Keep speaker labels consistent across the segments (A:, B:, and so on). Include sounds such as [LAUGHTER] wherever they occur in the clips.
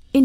A: verscheen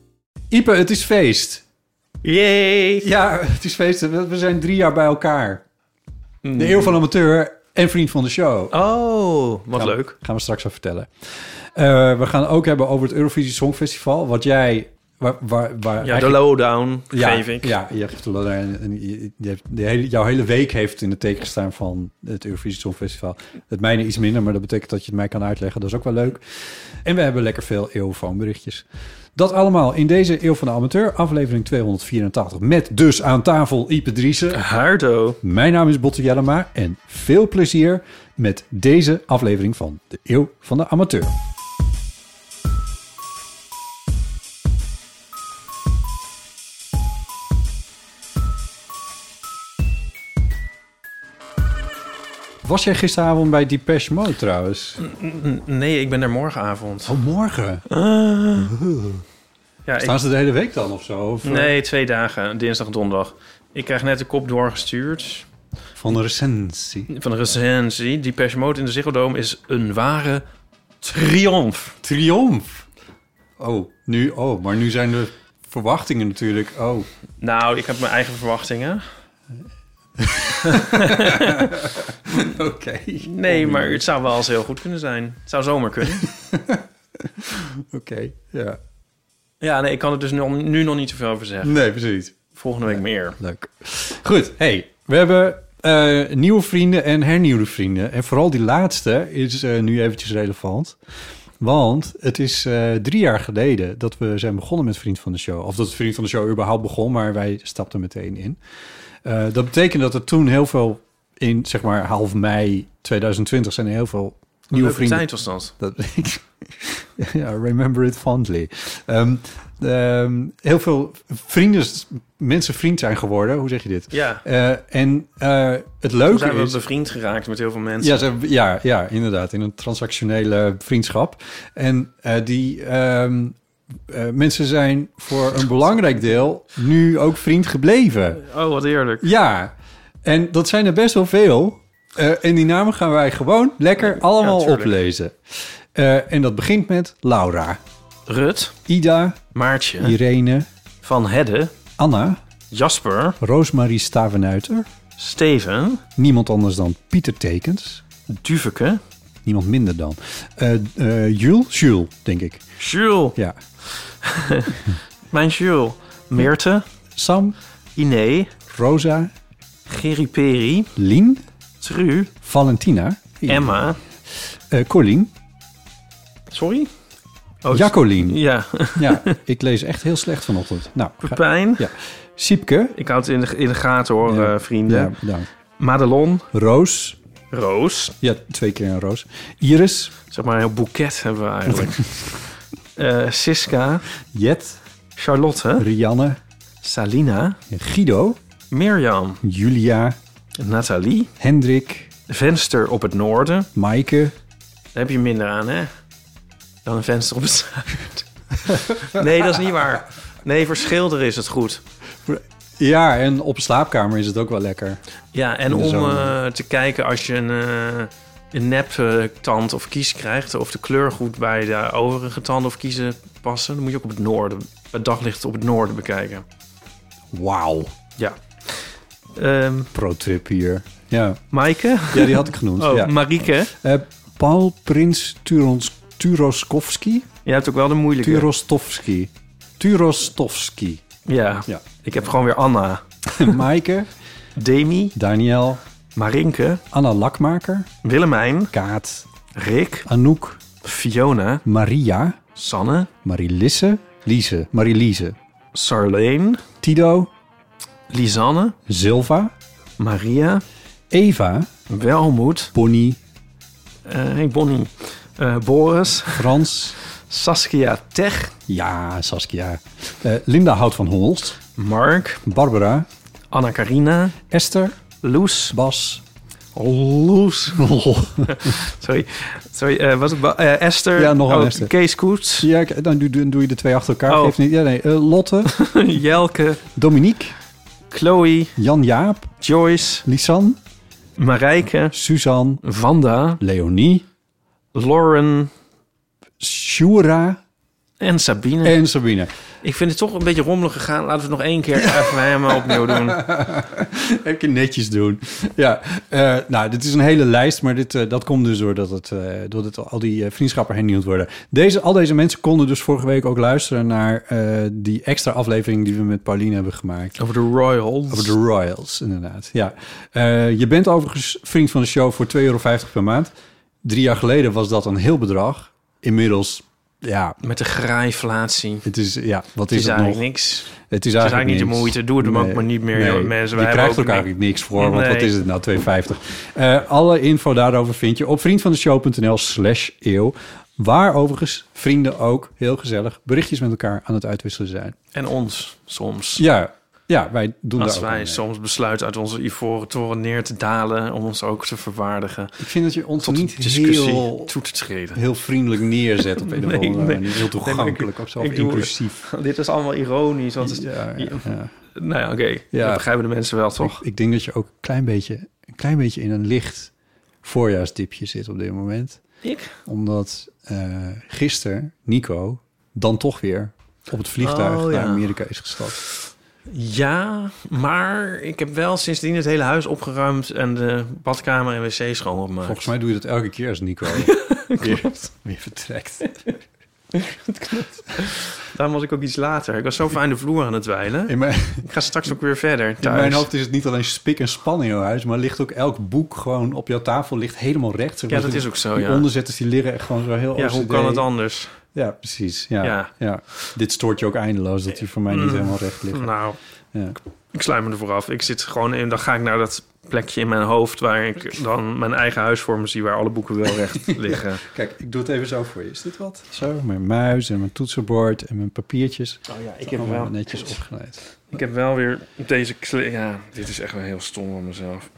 B: Ipe, het is feest.
C: Jee!
B: Ja, het is feest. We we zijn drie jaar bij elkaar. De eeuw van amateur en vriend van de show.
C: Oh, wat
B: Gaan we-
C: leuk.
B: Gaan we straks over vertellen. Eh, we gaan ook hebben over het Eurovisie Songfestival. Wat jij... Waar, waar, waar
C: Ja, de lowdown
B: ja,
C: geef ik.
B: Ja, je geeft de lodder en, en je- je hebt- de hele, jouw hele week heeft in de teken gestaan van het Eurovisie Songfestival. Het mijne iets minder, maar dat betekent dat je het mij kan uitleggen. Dat is ook wel leuk. En we hebben lekker veel eeuwfoonberichtjes. Dat allemaal in deze Eeuw van de Amateur, aflevering 284. Met dus aan tafel Ipe Driessen.
C: Hardo.
B: Mijn naam is Botte Jellema en veel plezier met deze aflevering van de Eeuw van de Amateur. Was jij gisteravond bij Depeche Mode trouwens?
C: Nee, ik ben er morgenavond.
B: Oh, morgen.
C: Ja, ik-
B: Staan ze de hele week dan of zo? Of, eh,
C: nee, twee dagen. Dinsdag en donderdag. Ik krijg net de kop doorgestuurd
B: Van de recensie.
C: van de recensie. Die Mode in de Ziggo Dome is een ware triomf.
B: Triomf. Oh, nu, oh, maar nu zijn de verwachtingen natuurlijk, oh...
C: Nou, ik heb mijn eigen verwachtingen.
B: Oké.
C: Nee, maar het zou wel eens heel goed kunnen zijn. Het zou zomaar [LAUGHS] kunnen.
B: Oké, ja.
C: Ja, nee, ik kan er dus nu, nu nog niet zoveel over zeggen.
B: Nee, precies.
C: Volgende week meer.
B: Leuk. Goed, hey, we hebben eh, nieuwe vrienden en hernieuwde vrienden. En vooral die laatste is eh, nu eventjes relevant. Want het is eh, drie jaar geleden dat we zijn begonnen met Vriend van de Show. Of dat Vriend van de Show überhaupt begon, maar wij stapten meteen in. Eh, dat betekent dat er toen heel veel, in zeg maar half mei 2020, zijn er heel veel nieuwe
C: Leuke
B: vrienden
C: tijd was dat.
B: Dat, [LAUGHS] ja, remember it fondly. Ehm, ehm, heel veel vrienden, mensen vriend zijn geworden. Hoe zeg je dit?
C: Ja.
B: Eh, en eh, het
C: Toen
B: leuke
C: zijn we
B: is...
C: bevriend geraakt met heel veel mensen.
B: Ja, ze hebben- ja, ja, inderdaad. In een transactionele vriendschap. En eh, die ehm, eh, mensen zijn voor een belangrijk deel nu ook vriend gebleven.
C: Oh, wat eerlijk.
B: Ja, en dat zijn er best wel veel. Eh, en die namen gaan wij gewoon lekker allemaal
C: tuurlijk.
B: oplezen. Eh, en dat begint met Laura,
C: Rut,
B: Ida,
C: Maartje,
B: Irene,
C: Van Hedde,
B: Anna,
C: Jasper,
B: Roosmarie Stavenuiter,
C: Steven,
B: niemand anders dan Pieter Tekens,
C: Duveke,
B: niemand minder dan eh eh, Jules, Jules, denk ik.
C: Jules,
B: Ja,
C: mijn Jules, Meerte,
B: Sam,
C: Iné,
B: Rosa,
C: Gerry Peri,
B: Lien,
C: Tru,
B: Valentina,
C: Emma.
B: eh, Colleen,
C: Sorry? Oh,
B: Jacolien.
C: Ja, [LAUGHS]
B: Ja, ik lees echt heel slecht vanochtend. Nou, ga-
C: Pepijn.
B: ja. Siepke,
C: Ik houd het in de, in de gaten hoor,
B: Ja.
C: eh, vrienden.
B: ja, bedankt.
C: Madelon,
B: Roos.
C: Roos.
B: Ja, twee keer een roos. Iris.
C: Zeg maar een heel boeket hebben we
B: [LAUGHS]
C: eigenlijk. Eh, Siska,
B: Jet.
C: Charlotte,
B: Rianne.
C: Salina,
B: Guido.
C: Mirjam,
B: Julia.
C: Nathalie,
B: Hendrik.
C: Venster op het noorden.
B: Maaike.
C: Daar heb je minder aan, hè? Dan een venster op het zuiden. [LAUGHS] Nee, dat is niet waar. Nee, voor schilder is het goed.
B: Ja, en op een slaapkamer is het ook wel lekker.
C: Ja, en
B: In de
C: om
B: zomer.
C: eh, te kijken als je een, eh, een nep eh, tand of kies krijgt... of de kleur goed bij de overige tanden of kiezen passen... dan moet je ook op het noorden, het daglicht op het noorden bekijken.
B: Wauw.
C: Ja. Ehm,
B: Pro-trip hier. Ja,
C: Maaike?
B: ja die had ik [LAUGHS] genoemd.
C: [LAUGHS] Oh,
B: ja.
C: Marieke.
B: Eh, Paul Prins Turons, Turoskovski?
C: Jij hebt ook wel de moeilijke.
B: Turostovski. Turostovski. [LAUGHS]
C: ja.
B: Ja.
C: ik heb gewoon weer Anna.
B: Maaike,
C: Demi,
B: Daniel,
C: Marinke,
B: Anna Lakmaker,
C: Willemijn,
B: Kaat,
C: Rick,
B: Anouk,
C: Fiona,
B: Maria,
C: Sanne,
B: Marilisse, Lise, Marilise,
C: Sarleen,
B: Tido,
C: Lisanne,
B: Silva,
C: Maria,
B: Eva,
C: Welmoed,
B: Bonnie,
C: eh, hey Bonnie, eh, Boris,
B: Frans,
C: Saskia Tech,
B: ja, Saskia, eh, Linda Hout van Holst,
C: Mark,
B: Barbara,
C: Anna-Karina,
B: Esther,
C: Loes,
B: Bas,
C: Loes, [LAUGHS] sorry, sorry eh, wat, wa- eh, Esther,
B: Ja, nog een
C: oh,
B: Esther.
C: Kees Koets, [LAUGHS]
B: ja, k- dan doe, doe- doe je de twee achter elkaar.
C: Oh.
B: Geeft niet, ja, nee, eh, Lotte,
C: Jelke,
B: Dominique,
C: Chloe,
B: Jan-Jaap,
C: Joyce,
B: Lisan,
C: Marijke,
B: Suzanne,
C: Vanda,
B: Leonie,
C: Lauren
B: Shura
C: en Sabine.
B: en Sabine.
C: Ik vind het toch een beetje rommelig gegaan. Laten we het nog één keer even helemaal opnieuw doen.
B: [LAUGHS] Even netjes doen. Ja, eh, nou, dit is een hele lijst, maar dit, eh, dat komt dus doordat het, eh, doordat al die eh, vriendschappen hernieuwd worden. Deze, al deze mensen konden dus vorige week ook luisteren naar eh, die extra aflevering die we met Pauline hebben gemaakt.
C: Over de Royals.
B: Over de Royals, inderdaad. Ja. Eh, je bent overigens vriend van de show voor 2,50 euro per maand. Drie jaar geleden was dat een heel bedrag. Inmiddels, ja,
C: Met de graaiflatie. Het
B: het is, ja wat
C: is,
B: is, het nog?
C: eigenlijk niks.
B: Het is eigenlijk,
C: Het is eigenlijk niet de
B: niks.
C: moeite. Doe het hem ook maar niet meer, joh, mensen.
B: Je
C: Wij
B: krijgt
C: hebben
B: ook
C: ook
B: eigenlijk niks voor, want wat
C: Nee.
B: is het nou, 2,50? Eh, alle info daarover vind je op vriendvandeshow.nl slash eeuw. Waar overigens vrienden ook heel gezellig berichtjes met elkaar aan het uitwisselen zijn.
C: En ons soms.
B: Ja, ja wij doen
C: Als
B: daar ook
C: wij
B: aan mee.
C: soms besluiten uit onze ivoren toren neer te dalen... om ons ook te verwaardigen.
B: Ik vind dat je ons
C: Tot
B: niet
C: een discussie
B: heel,
C: toe te treden.
B: heel vriendelijk neerzet op een of
C: [LAUGHS] Nee,
B: andere
C: nee.
B: manier. Heel toegankelijk
C: Nee, maar ik-
B: of zo,
C: ik
B: of
C: doe-
B: inclusief.
C: [LAUGHS] Dit is allemaal ironisch. Want het-
B: Ja, ja, ja.
C: Nou ja, oké.
B: Ja.
C: Dat begrijpen de mensen wel,
B: [LAUGHS]
C: toch?
B: Ik, ik denk dat je ook een klein beetje, een klein beetje in een licht voorjaarsdipje zit op dit moment.
C: Ik?
B: Omdat eh gisteren Nico dan toch weer op het vliegtuig
C: Oh,
B: naar
C: ja.
B: Amerika is gestapt.
C: Ja, maar ik heb wel sindsdien het hele huis opgeruimd... en de badkamer en wc schoongemaakt.
B: Volgens mij doe je dat elke keer als Nico
C: [LAUGHS]
B: weer, weer vertrekt.
C: Daarom was ik ook iets later. Ik was zo fijn de vloer aan het dweilen.
B: In mijn,
C: Ik ga straks ook weer verder
B: in
C: thuis.
B: mijn hoofd is het niet alleen spik en span in jouw huis, maar ligt ook elk boek gewoon op jouw tafel ligt helemaal recht. Zeg
C: Ja,
B: maar,
C: dat
B: die-
C: is ook zo,
B: Die
C: ja.
B: onderzetters die liggen echt gewoon zo heel
C: ja, hoe
B: OCD.
C: kan het anders?
B: Ja, precies. Ja, ja.
C: Ja.
B: Dit stoort je ook eindeloos, dat die voor mij niet
C: Mm.
B: helemaal recht liggen.
C: Nou,
B: Ja.
C: ik sluit me ervoor af. Ik zit gewoon in, dan ga ik naar dat plekje in mijn hoofd... waar ik dan mijn eigen huis voor me zie... waar alle boeken wel
B: [LAUGHS]
C: recht liggen.
B: Kijk, ik doe het even zo voor je. Is dit wat? Zo, mijn muis en mijn toetsenbord en mijn papiertjes.
C: Oh ja, ik
B: Allemaal netjes opgeleid.
C: Ik heb wel weer deze... kle- Ja, dit is echt wel heel stom van mezelf.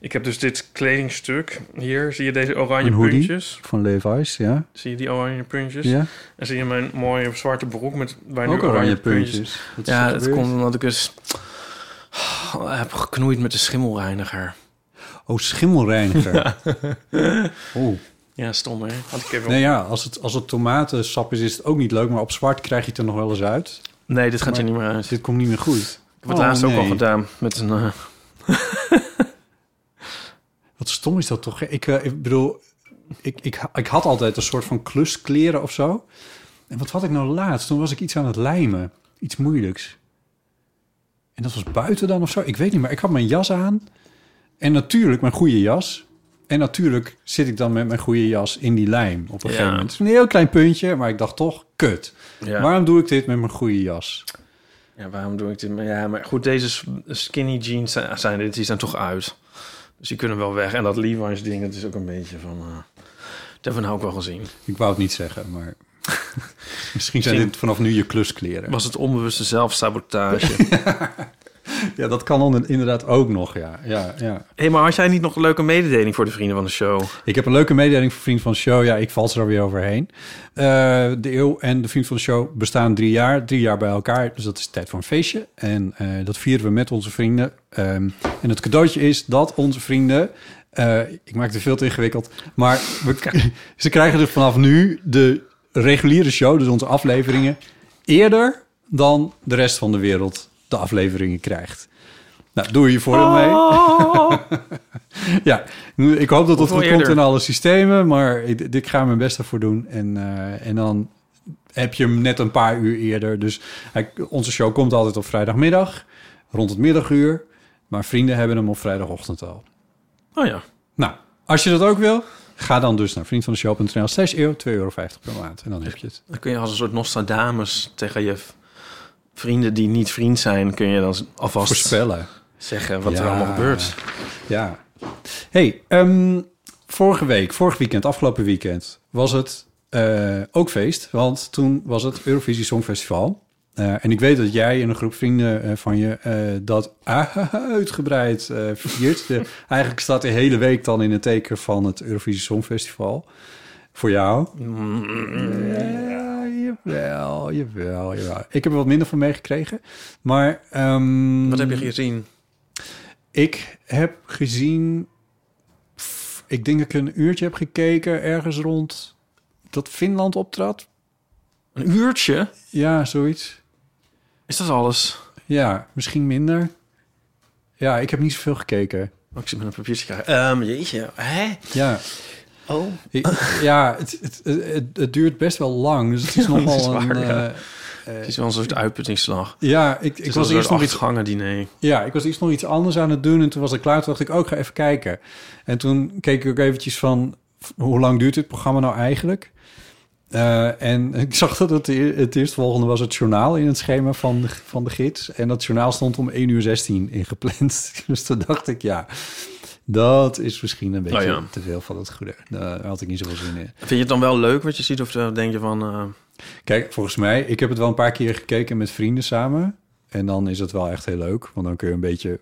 C: Ik heb dus dit kledingstuk. Hier zie je deze oranje
B: Een hoodie?
C: puntjes.
B: Van Levi's, ja.
C: Zie je die oranje puntjes?
B: Ja,
C: En zie je mijn mooie zwarte broek met waar Dus nu
B: ook oranje puntjes. Wat is
C: Ja,
B: er
C: dat
B: gebeurd?
C: komt omdat ik dus oh, heb geknoeid met de schimmelreiniger.
B: Oh, schimmelreiniger. [LAUGHS] Oh.
C: Ja, stom hè. Had ik even...
B: Nee,
C: nee,
B: Nou ja, als het, als het tomatensap is, is het ook niet leuk. Maar op zwart krijg je het er nog wel eens uit.
C: dit gaat er
B: Maar-
C: niet meer uit. Ik
B: Dit komt niet meer goed.
C: heb het
B: Oh,
C: laatst ook
B: nee.
C: al gedaan met een... eh,
B: Wat stom is dat toch? hè? Ik, eh, ik bedoel, ik, ik, ik had altijd een soort van kluskleren of zo. En wat had ik nou laatst? Toen was ik iets aan het lijmen. Iets moeilijks. En dat was buiten dan of zo? Ik weet niet meer. Ik had mijn jas aan. En natuurlijk mijn goede jas. En natuurlijk zit ik dan met mijn goede jas in die lijm op een
C: Ja.
B: gegeven moment. Het is een heel klein puntje, maar ik dacht toch, kut.
C: ja.
B: Waarom doe ik dit met mijn goede jas?
C: ja, waarom doe ik dit? Maar Ja, maar goed, deze s- skinny jeans zijn, zijn, dit- die zijn toch uit. Dus die kunnen wel weg. En dat Levi's ding, dat is ook een beetje van... eh, dat hebben we nou ook wel gezien.
B: Ik wou het niet zeggen, maar... [LAUGHS] Misschien zijn
C: Misschien-
B: dit vanaf nu je kluskleren.
C: Was het onbewuste zelfsabotage.
B: Ja, dat kan onder- inderdaad ook nog, ja. ja, ja.
C: [LAUGHS] Hé, maar had jij niet nog een leuke mededeling voor de vrienden van de show?
B: Ik heb een leuke mededeling voor Vriend van de Show. Ja, ik val er weer overheen. Eh, de eeuw en de Vriend van de Show bestaan drie jaar. Drie jaar bij elkaar, dus dat is tijd voor een feestje. En eh, dat vieren we met onze vrienden. Ehm, en het cadeautje is dat onze vrienden... eh, ik maak het veel te ingewikkeld. Maar we, [LAUGHS] ze krijgen dus vanaf nu de reguliere show, dus onze afleveringen... eerder dan de rest van de
C: Oh.
B: wereld de afleveringen krijgt. Nou, doe je voordeel mee. ja, ik hoop dat dat
C: Hoeveel
B: goed komt
C: eerder?
B: in alle systemen, maar ik, ik ga mijn best ervoor doen. En, eh, en dan heb je hem net een paar uur eerder. Dus hij- onze show komt altijd op vrijdagmiddag, rond het middaguur. Maar vrienden hebben hem op vrijdagochtend al.
C: Oh ja.
B: Nou, als je dat ook wil, ga dan dus naar vriendvandeshow.nl. 6 eeuw, 2,50 euro per maand. En dan heb je het.
C: Dan kun je als een soort Nostradamus tegen je v- vrienden die niet vriend zijn... kun je dan z- alvast
B: Voorspellen.
C: zeggen wat er
B: Ja.
C: allemaal gebeurt.
B: Ja. hey, ehm, vorige week, vorig weekend, afgelopen weekend... was het eh, ook feest. Want toen was het Eurovisie Songfestival. Eh, en ik weet dat jij en een groep vrienden eh, van je eh, dat [LAUGHS] uitgebreid eh, viert. De- eigenlijk staat de hele week dan in het teken van het Eurovisie Songfestival. Voor jou. Ja, jawel, jawel, jawel. Ik heb er wat minder van meegekregen. Maar ehm,
C: Wat heb je gezien?
B: ik heb gezien, pff, ik denk dat ik een uurtje heb gekeken ergens rond dat Finland optrad.
C: Een uurtje?
B: Ja, zoiets.
C: Is dat alles?
B: Ja, misschien minder. Ja, ik heb niet zoveel gekeken.
C: Oh, ik zit met een papiertje te krijgen. Ehm, jeetje. Hè?
B: Ja,
C: Oh.
B: ik- ja het, het, het, het duurt best wel lang, dus het
C: [LAUGHS]
B: is nogal
C: is waar,
B: een...
C: ja.
B: eh,
C: Het is wel een soort uitputtingsslag.
B: ja, ik, eh, ik
C: Het
B: was eerst nog iets
C: gangen diner.
B: Ja, ik was iets nog iets anders aan het doen en toen was ik klaar. Toen dacht ik, ook ga even kijken. En toen keek ik ook eventjes van, f- hoe lang duurt dit programma nou eigenlijk? Eh, en [LAUGHS] ik zag dat het, e- het eerstvolgende was het journaal in het schema van de, van de gids. En dat journaal stond om 1 uur 16 ingepland. [LAUGHS] Dus toen dacht ik, ja, dat is misschien een beetje
C: Nou ja.
B: te veel van het goede. Daar had ik niet zoveel zin in.
C: Vind je het dan wel leuk wat je ziet? Of eh, denk je van... eh,
B: Kijk, volgens mij, ik heb het wel een paar keer gekeken met vrienden samen. En dan is het wel echt heel leuk. Want dan kun je een beetje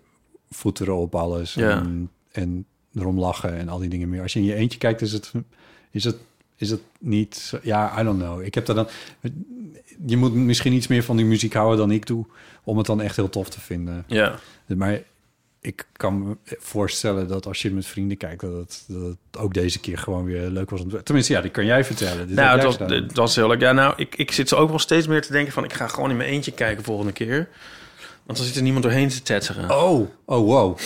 B: voeteren op alles.
C: Ja.
B: En, en erom lachen en al die dingen meer. Als je in je eentje kijkt, is het, is het, is het niet... zo- Ja, I don't know. Ik heb daar dan... Je moet misschien iets meer van die muziek houden dan ik doe... om het dan echt heel tof te vinden.
C: ja.
B: Maar ik kan me voorstellen dat als je met vrienden kijkt... dat het, dat het ook deze keer gewoon weer leuk was. om te- Tenminste, ja, die kan jij vertellen. Dit heb
C: Nou,
B: jij
C: het was,
B: gedaan.
C: het was heel leuk. Ja, nou, ik, ik zit zo ook wel steeds meer te denken van... ik ga gewoon in mijn eentje kijken volgende keer. Want dan zit er niemand doorheen te tetteren.
B: Oh, oh wow.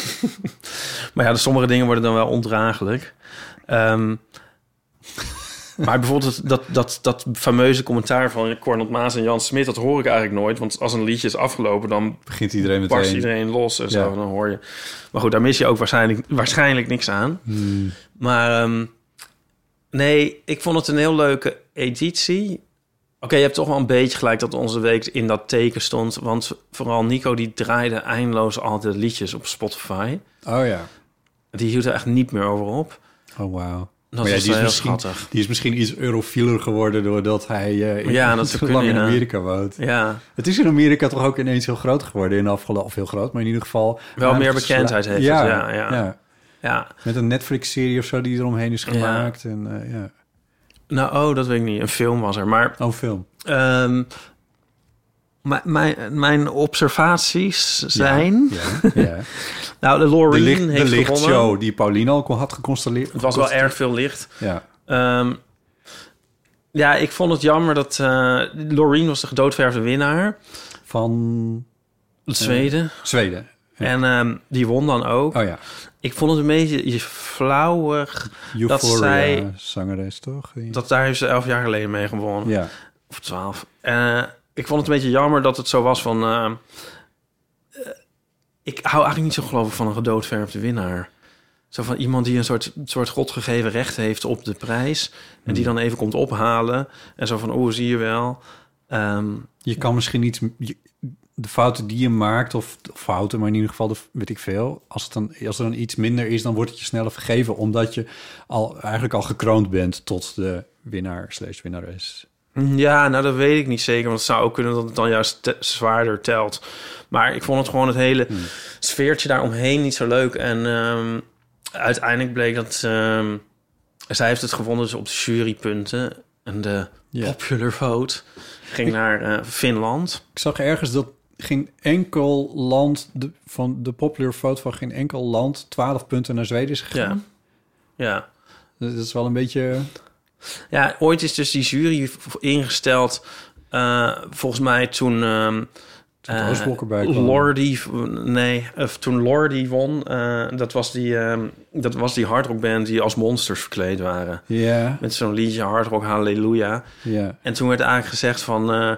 C: Maar ja, dus sommige dingen worden dan wel ondraaglijk.
B: [LAUGHS]
C: Ehm, maar bijvoorbeeld dat, dat, dat fameuze commentaar van Cornel Maas en Jan Smit... dat hoor ik eigenlijk nooit. Want als een liedje is afgelopen, dan
B: Begint iedereen meteen.
C: barst iedereen los en zo.
B: Ja.
C: Dan hoor je... Maar goed, daar mis je ook waarschijnlijk, waarschijnlijk niks aan.
B: Hmm.
C: Maar ehm, nee, ik vond het een heel leuke editie. Oké, je hebt toch wel een beetje gelijk dat onze week in dat teken stond. Want vooral Nico die draaide eindeloos al de liedjes op Spotify.
B: Oh ja.
C: Die hield er echt niet meer over op.
B: Oh wauw.
C: Dat
B: ja,
C: was
B: die,
C: wel
B: is
C: heel
B: misschien,
C: schattig.
B: die is misschien iets eurofieler geworden doordat hij eh, in, [LAUGHS]
C: Ja, dat
B: zo
C: zou
B: lang in
C: kunnen, ja.
B: Amerika woont.
C: Ja,
B: Het is in Amerika toch ook ineens heel groot geworden in de afgelopen... Of heel groot, maar in ieder geval...
C: Wel meer
B: Het is-
C: bekendheid heeft het, ja, ja. ja.
B: Met een Netflix-serie of zo die eromheen is gemaakt. En, eh, ja.
C: Nou, oh, dat weet ik niet. Een film was er. Maar
B: Oh, film.
C: ehm, m- mijn, mijn observaties zijn...
B: [LAUGHS] Ja, ja.
C: Nou, de
B: De,
C: Loreen
B: licht, de
C: heeft gewonnen.
B: lichtshow die Pauline al kon- had geconstateerd.
C: Het was wel erg veel licht.
B: Ja.
C: Ehm, ja, ik vond het jammer dat... eh Loreen was de gedoodverfde winnaar.
B: Van
C: Het Zweden.
B: Zweden.
C: En ehm, die won dan ook.
B: Oh ja.
C: Ik vond het een beetje flauwig.
B: Euphoria,
C: zij-
B: zangeres, toch?
C: Dat, daar heeft ze elf jaar geleden mee gewonnen.
B: ja.
C: Of twaalf. Eh, ik vond het een beetje jammer dat het zo was van... eh, eh, ik hou eigenlijk niet zo geloof ik van een gedoodverfde winnaar. Zo van iemand die een soort, soort godgegeven recht heeft op de prijs. En die dan even komt ophalen. En zo van, oh, zie je wel. Ehm,
B: Je kan misschien niet je- de fouten die je maakt, of of fouten, maar in ieder geval, de, weet ik veel. Als, het dan, als er dan iets minder is, dan wordt het je sneller vergeven, omdat je al, eigenlijk al gekroond bent tot de winnaar slash winnares.
C: ja, nou dat weet ik niet zeker. Want het zou ook kunnen dat het dan juist te- zwaarder telt. Maar ik vond het gewoon het hele sfeertje daaromheen niet zo leuk. En ehm, uiteindelijk bleek dat... ehm, zij heeft het gewonnen dus op de jurypunten. En de
B: Ja.
C: popular vote ging naar eh, Finland.
B: Ik zag ergens dat geen enkel land, de, van de popular vote van geen enkel land, 12 punten naar Zweden is
C: Ja.
B: gegaan.
C: ja.
B: Dat is wel een beetje...
C: Ja, ooit is dus die jury v- ingesteld... eh, volgens mij toen ehm,
B: Toen de Oostblokker bij kwam.
C: Lordy, nee, of toen Lordy won, eh, dat, was die, ehm dat was die hardrockband die als monsters verkleed waren.
B: Ja,
C: Met zo'n liedje hardrock Halleluja.
B: ja.
C: En toen werd eigenlijk gezegd van... eh,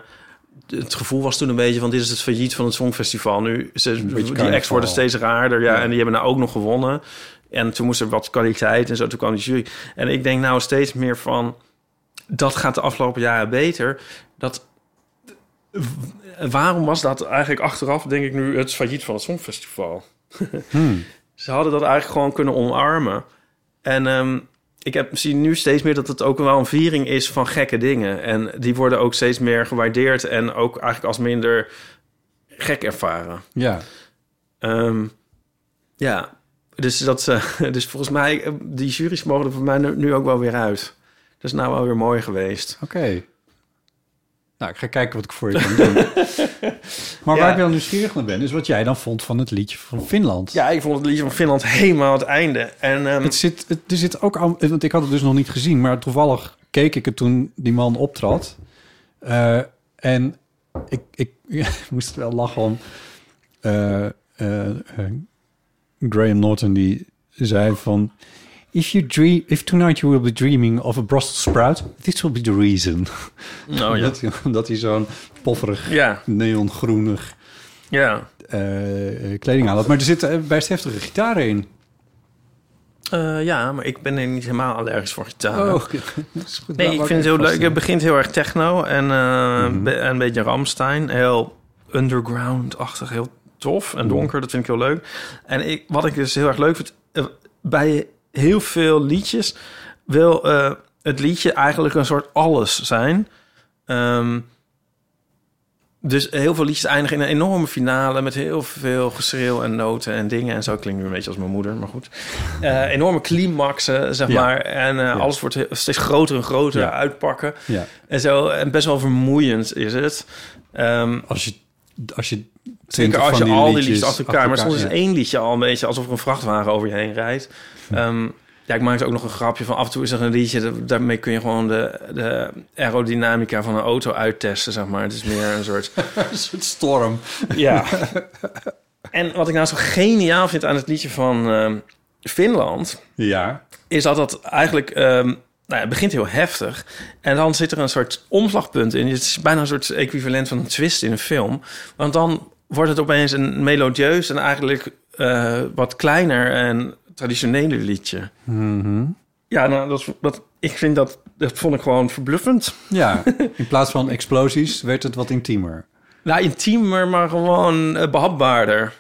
C: het gevoel was toen een beetje van dit is het failliet van het Songfestival. Nu, ze, die
B: carnaval.
C: acts worden steeds raarder. Ja, En die hebben nou ook nog gewonnen. En toen moest er wat kwaliteit en zo. Toen kwam die jury. En ik denk nou steeds meer van... Dat gaat de afgelopen jaren beter. Dat, w- waarom was dat eigenlijk achteraf, denk ik nu, het failliet van het Songfestival? [LAUGHS] Ze hadden dat eigenlijk gewoon kunnen omarmen. En ehm, ik heb, zie nu steeds meer dat het ook wel een viering is van gekke dingen. En die worden ook steeds meer gewaardeerd en ook eigenlijk als minder gek ervaren.
B: ja.
C: Ehm, ja, dus, dat, eh, [LAUGHS] dus volgens mij, eh, die jury's mogen er voor mij nu, nu ook wel weer uit. Dat is nou wel weer mooi geweest.
B: Oké. Nou, ik ga kijken wat ik voor je kan doen. maar waar ik wel nieuwsgierig naar ben, is wat jij dan vond van het liedje van Finland.
C: Ja, ik vond het liedje van Finland helemaal het einde. En ehm,
B: Het zit, het, er zit ook aan, want ik had het dus nog niet gezien, maar toevallig keek ik het toen die man optrad. Eh, en ik, ik [LAUGHS] moest wel lachen om eh, eh, eh, Graham Norton die zei van. If you dream, if tonight you will be dreaming of a Brussels sprout, this will be the reason.
C: nou ja.
B: Dat, dat [LAUGHS] hij zo'n pofferig,
C: Ja,
B: neongroenig
C: ja.
B: eh, eh, kleding aan had. Maar er zitten eh, best heftige gitaren in.
C: Eh, ja, maar ik ben er niet helemaal allergisch voor gitaar.
B: Oh. [LAUGHS] dat is goed.
C: Oh. Nee,
B: Nou,
C: ik
B: wou
C: vind het heel
B: even
C: leuk. Het
B: vaststellen.
C: begint heel erg techno en, eh, be- en een beetje Ramstein. Heel underground-achtig, heel tof en donker. Dat vind ik heel leuk. En ik, wat ik dus heel erg leuk vind... eh, bij heel veel liedjes wil eh, het liedje eigenlijk een soort alles zijn. Ehm, dus heel veel liedjes eindigen in een enorme finale... met heel veel geschreeuw en noten en dingen. En zo klinkt nu een beetje als mijn moeder, maar goed. Eh, enorme climaxen, zeg
B: Ja.
C: maar. En eh, alles wordt he- steeds groter en groter
B: Ja.
C: uitpakken.
B: Ja,
C: En zo, en best wel vermoeiend is het. Ehm
B: als je, als je
C: zeker
B: twintig
C: als je
B: van
C: al die liedjes achter elkaar... maar soms is
B: ja. Hm.
C: één liedje al een beetje alsof er een vrachtwagen over je heen rijdt. Ehm, ja, ik maakte ook nog een grapje van af en toe is er een liedje... dat- daarmee kun je gewoon de, de aerodynamica van een auto uittesten, zeg maar. Het is meer een
B: [LAUGHS]
C: [LAUGHS] soort...
B: een soort storm.
C: Ja. en wat ik nou zo geniaal vind aan het liedje van ehm, Finland...
B: Ja,
C: is dat dat eigenlijk... ehm, nou ja, het begint heel heftig. En dan zit er een soort omslagpunt in. Het is bijna een soort equivalent van een twist in een film. Want dan wordt het opeens een melodieus... en eigenlijk eh, wat kleiner en traditionele liedje.
B: Mhm.
C: Ja, nou, dat, dat, ik vind dat... Dat vond ik gewoon verbluffend.
B: ja. In plaats van explosies werd het wat intiemer.
C: Nou, intiemer, maar gewoon eh, behapbaarder.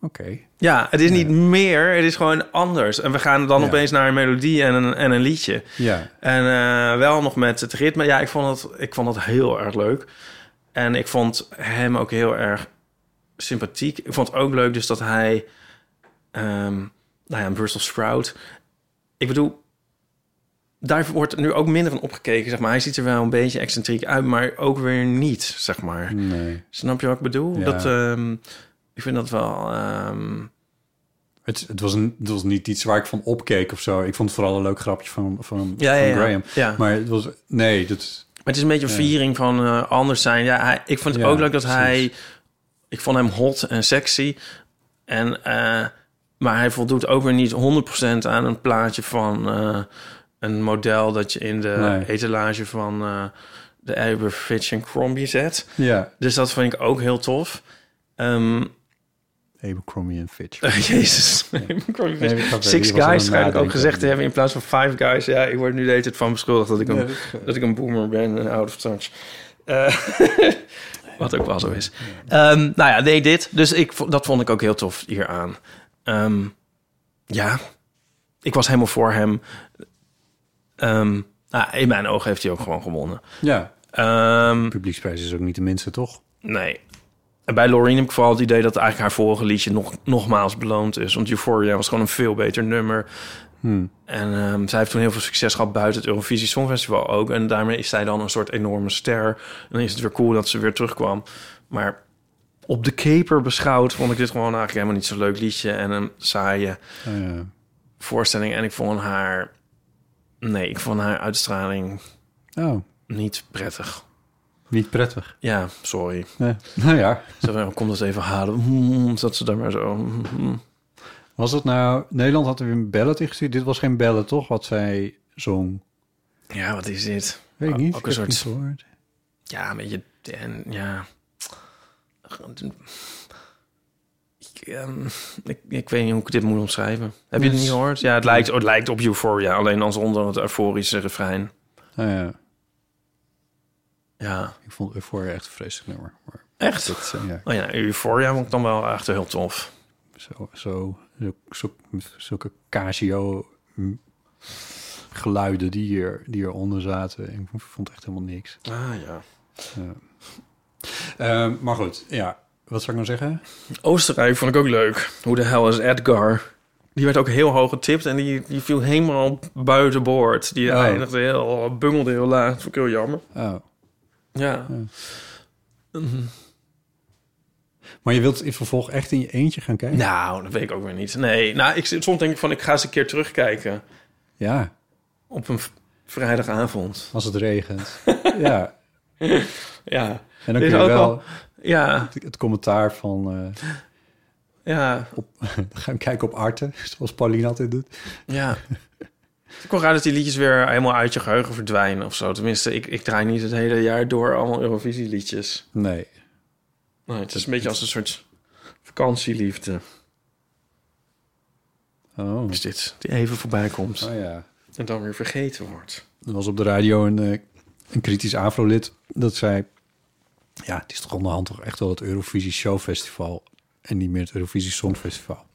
B: Oké.
C: Ja, het is niet meer, het is gewoon anders. En we gaan dan
B: Ja.
C: opeens naar een melodie en een, en een liedje.
B: Ja.
C: En eh, wel nog met het ritme. Ja, ik vond, dat, ik vond dat heel erg leuk. En ik vond hem ook heel erg sympathiek. Ik vond het ook leuk dus dat hij... ehm nou ja, een Brussels sprout. Ik bedoel, daar wordt nu ook minder van opgekeken, zeg maar. Hij ziet er wel een beetje excentriek uit, maar ook weer niet, zeg maar.
B: Nee.
C: Snap je wat ik bedoel?
B: Ja.
C: Dat, ehm, ik vind dat wel... ehm,
B: Het, het, was een, het was niet iets waar ik van opkeek of zo. Ik vond het vooral een leuk grapje van, van,
C: Ja,
B: van
C: ja, ja.
B: Graham.
C: Ja.
B: Maar het was... Nee, dat...
C: Maar het is een beetje een viering van eh, anders zijn. Ja, hij, ik vond het
B: Ja,
C: ook leuk dat
B: precies.
C: hij... Ik vond hem hot en sexy. En, eh, maar hij voldoet ook weer niet 100% aan een plaatje van eh, een model... dat je in de
B: Nee.
C: etalage van eh, de Aberfitch Fitch en Crombie zet.
B: Ja.
C: Dus dat vind ik ook heel tof. Ehm,
B: Abercrombie en Fitch.
C: [LAUGHS] jezus.
B: Nee, ik had- die
C: Six
B: was aan het
C: guys schijn ik ook
B: nadenken.
C: gezegd te hebben... in plaats van five guys. Ja, ik word nu de hele tijd van beschuldigd dat ik hem
B: Ja, dat-
C: dat ik een boomer ben en out of touch. Eh, [LAUGHS] wat ook wel zo is. Ehm, nou ja, nee, dit. Dus ik, vo- dat vond ik ook heel tof hieraan. Ehm ja, ik was helemaal voor hem. Ehm, nou, in mijn ogen heeft hij ook gewoon gewonnen.
B: Ja.
C: Ehm,
B: Publieksprijs is ook niet de minste, toch?
C: nee. En bij Loreen heb ik vooral het idee dat eigenlijk haar vorige liedje nog, nogmaals beloond is. Want Euphoria was gewoon een veel beter nummer. En ehm, zij heeft toen heel veel succes gehad buiten het Eurovisie Songfestival ook. En daarmee is zij dan een soort enorme ster. En dan is het weer cool dat ze weer terugkwam. Maar op de keper beschouwd vond ik dit gewoon eigenlijk helemaal niet zo'n leuk liedje. En een saaie
B: Nou Ja.
C: voorstelling. En ik vond haar... Nee, ik vond haar uitstraling
B: oh.
C: niet prettig.
B: Niet prettig.
C: Ja, sorry.
B: Nee. [LAUGHS] Nou ja,
C: Ze van, kom dat even halen. Mm, Dat ze daar maar zo... mm.
B: was dat nou... Nederland had er weer een ballet ingestuurd. Dit was geen ballet, toch? Wat zij zong.
C: Ja, wat is dit?
B: Weet ik
C: Ook-
B: niet. ik
C: Ook een
B: heb
C: soort...
B: het niet gehoord.
C: Ja, een beetje... En, ja... Ik, ehm, ik, ik weet niet hoe ik dit moet omschrijven. Heb je het niet gehoord? Ja, Dus het lijkt, het lijkt op Euphoria. Alleen dan zonder het euforische refrein.
B: Nou ja,
C: Ja.
B: ik vond Euphoria echt een vreselijk nummer. Maar
C: Echt?
B: dat, eh, [LAUGHS] ja,
C: Oh ja, Euphoria vond ik dan wel echt heel tof.
B: zo, zo, zo, zo- zulke casio mm, geluiden die, hier, die eronder zaten. Ik vond echt helemaal niks.
C: Ah ja.
B: Ehm, maar goed, ja. Wat zou ik nou zeggen?
C: Oostenrijk vond ik ook leuk. Hoe de hel is Edgar? Die werd ook heel hoog getipt en die, die viel helemaal buiten boord. Die
B: Oh.
C: eindigde heel, bungelde heel laag. Dat vond ik heel jammer.
B: Oh.
C: Ja.
B: Maar je wilt in vervolg echt in je eentje gaan kijken?
C: Nou, dat weet ik ook weer niet. Nee, nou, ik, zit- soms denk ik van ik ga eens een keer terugkijken
B: Ja,
C: op een v- vrijdagavond.
B: als het
C: [LAUGHS]
B: regent. ja.
C: Ja.
B: En dan
C: Is
B: kun je
C: ook
B: wel
C: wel- Ja,
B: het- het commentaar van... eh, [LAUGHS]
C: ja,
B: dan gaan we kijken op Arte, [LAUGHS] zoals Pauline altijd doet.
C: ja. Het kon raar dat die liedjes weer helemaal uit je geheugen verdwijnen of zo. Tenminste, ik, ik draai niet het hele jaar door allemaal Eurovisie liedjes.
B: Nee.
C: Nee, het is een beetje als een soort vakantieliefde.
B: Oh.
C: Is dit die even voorbij komt
B: Oh ja.
C: en dan weer vergeten [LAUGHS] wordt?
B: Er was op de radio een, eh, een kritisch Afro-lid dat zei... Ja, het is toch onderhand toch echt wel het Eurovisie Showfestival... en niet meer het Eurovisie Songfestival.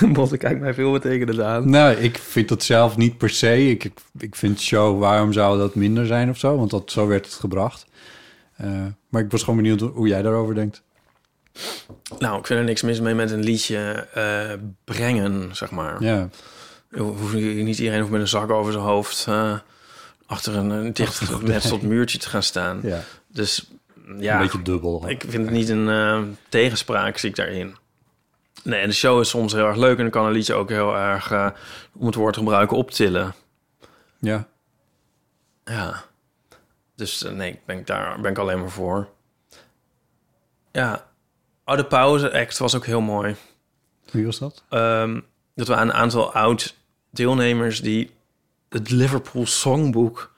C: Want ik kijk mij veel betekenen aan.
B: Nou, ik vind dat zelf niet per se. Ik, ik, ik vind show, waarom zou dat minder zijn of zo? Want dat, zo werd het gebracht. Eh, maar ik was gewoon benieuwd hoe jij daarover denkt.
C: Nou, ik vind er niks mis mee met een liedje eh, brengen, zeg maar.
B: Ja,
C: Ho- hoef je- niet iedereen hoeft met een zak over zijn hoofd eh, achter een, een dicht [LAUGHS] gemetseld muurtje te gaan staan.
B: ja.
C: Dus ja,
B: een beetje dubbel.
C: ik vind het niet een eh, tegenspraak, zie ik daarin. Nee, en de show is soms heel erg leuk en dan kan een liedje ook heel erg, eh, om het woord te gebruiken, optillen.
B: Ja,
C: Ja. Dus eh, nee, ben ik daar ben ik alleen maar voor. Ja. Oh, de pauze-act was ook heel mooi.
B: wie was dat?
C: Ehm, dat we aan een aantal oud-deelnemers die het Liverpool Songbook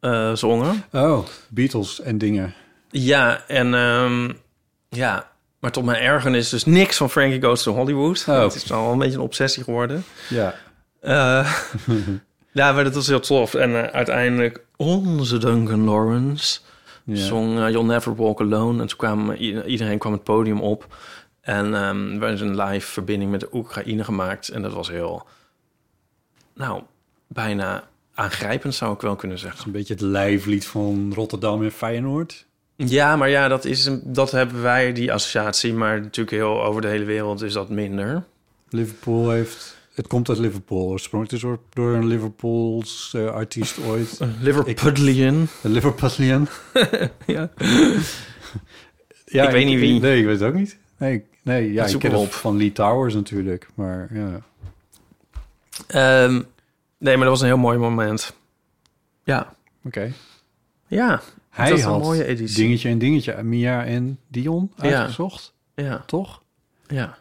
C: eh, zongen.
B: Oh, Beatles en dingen.
C: Ja, en ehm, ja, maar tot mijn ergernis dus niks van Frankie Goes to Hollywood.
B: Oh.
C: Het is al een beetje een obsessie geworden.
B: Ja.
C: Eh, ja, maar dat was heel tof. En eh, uiteindelijk onze Duncan Lawrence
B: Ja.
C: zong eh, You'll Never Walk Alone. En toen kwam eh, i- iedereen kwam het podium op. En ehm, er werd een live verbinding met de Oekraïne gemaakt. En dat was heel, nou, bijna aangrijpend zou ik wel kunnen zeggen.
B: Een beetje het lijflied van Rotterdam en Feyenoord.
C: Ja, maar ja, dat, is een, dat hebben wij, die associatie. Maar natuurlijk heel over de hele wereld is dat minder.
B: Liverpool heeft... Het komt uit Liverpool. Oorspronkelijk is het door een Liverpools eh, artiest [LAUGHS] ooit. Een
C: Liverpudlian.
B: Liverpudlian.
C: [LAUGHS] Ja.
B: Ja,
C: Ik weet niet wie.
B: Nee, ik weet het ook niet. Nee, nee ja,
C: Dat
B: ik
C: zoek
B: ken
C: hem
B: het
C: op.
B: van Lee Towers natuurlijk. Maar ja,
C: Ehm, nee, maar dat was een heel mooi moment. Ja.
B: oké.
C: Ja.
B: Hij
C: was een
B: had
C: mooie editie.
B: dingetje en dingetje. Mia en Dion uitgezocht,
C: Ja.
B: toch?
C: Ja.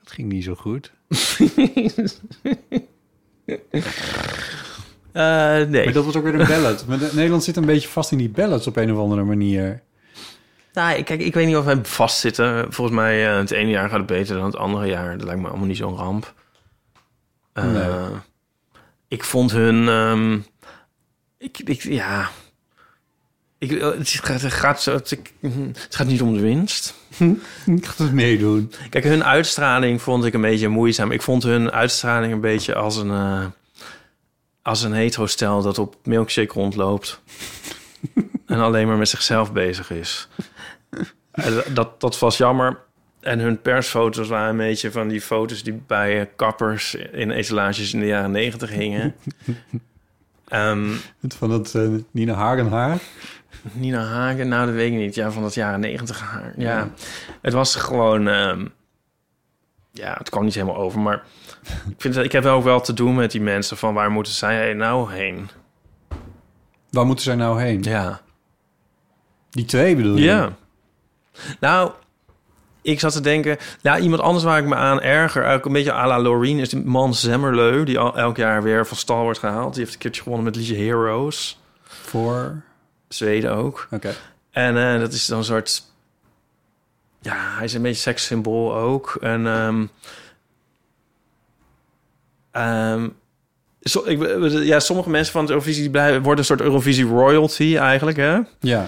B: Het ging niet zo goed.
C: nee. Eh,
B: Maar dat was ook weer een
C: [LAUGHS]
B: ballad. maar de- Nederland zit een beetje vast in die ballads op een of andere manier.
C: Nou, ik- kijk, ik weet niet of wij vastzitten. Volgens mij, eh, het ene jaar gaat het beter dan het andere jaar. Dat lijkt me allemaal niet zo'n ramp. Eh,
B: Nee.
C: Ik vond hun... ehm, ik, ik, ja... Ik, eh, het, gaat, het, gaat, zo- het, ik- het gaat niet om de winst.
B: Ik ga het meedoen.
C: Kijk, hun uitstraling vond ik een beetje moeizaam. Ik vond hun uitstraling een beetje als een... eh als een hetero-stel dat op milkshake rondloopt... en alleen maar met zichzelf bezig is. En dat, dat was jammer. En hun persfoto's waren een beetje van die foto's... die bij eh, kappers in etalages in de jaren negentig hingen. Ehm,
B: Het Van dat eh, Nina Hagen haar.
C: Nina Hagen, nou dat weet ik niet. Ja, van dat jaren negentig haar. Ja. het was gewoon... ehm, ja, het kwam niet helemaal over, maar... ik, vind, dat- ik heb ook wel te doen met die mensen van waar moeten zij nou heen?
B: Waar moeten zij nou heen?
C: Ja.
B: Die twee bedoel je?
C: Ja. Nou, ik zat te denken... Nou, iemand anders waar ik me aan erger... Eigenlijk een beetje à la Loreen is die man Zemmerleu... die al elk jaar weer van stal wordt gehaald. Die heeft een keertje gewonnen met het liedje Heroes.
B: Voor...
C: Zweden ook.
B: Oké.
C: En eh, dat is dan een soort... Ja, hij is een beetje sekssymbool ook. En ehm, ehm, zo, ik, ja, sommige mensen van het Eurovisie die blijven, worden een soort Eurovisie royalty eigenlijk. Hè?
B: Ja.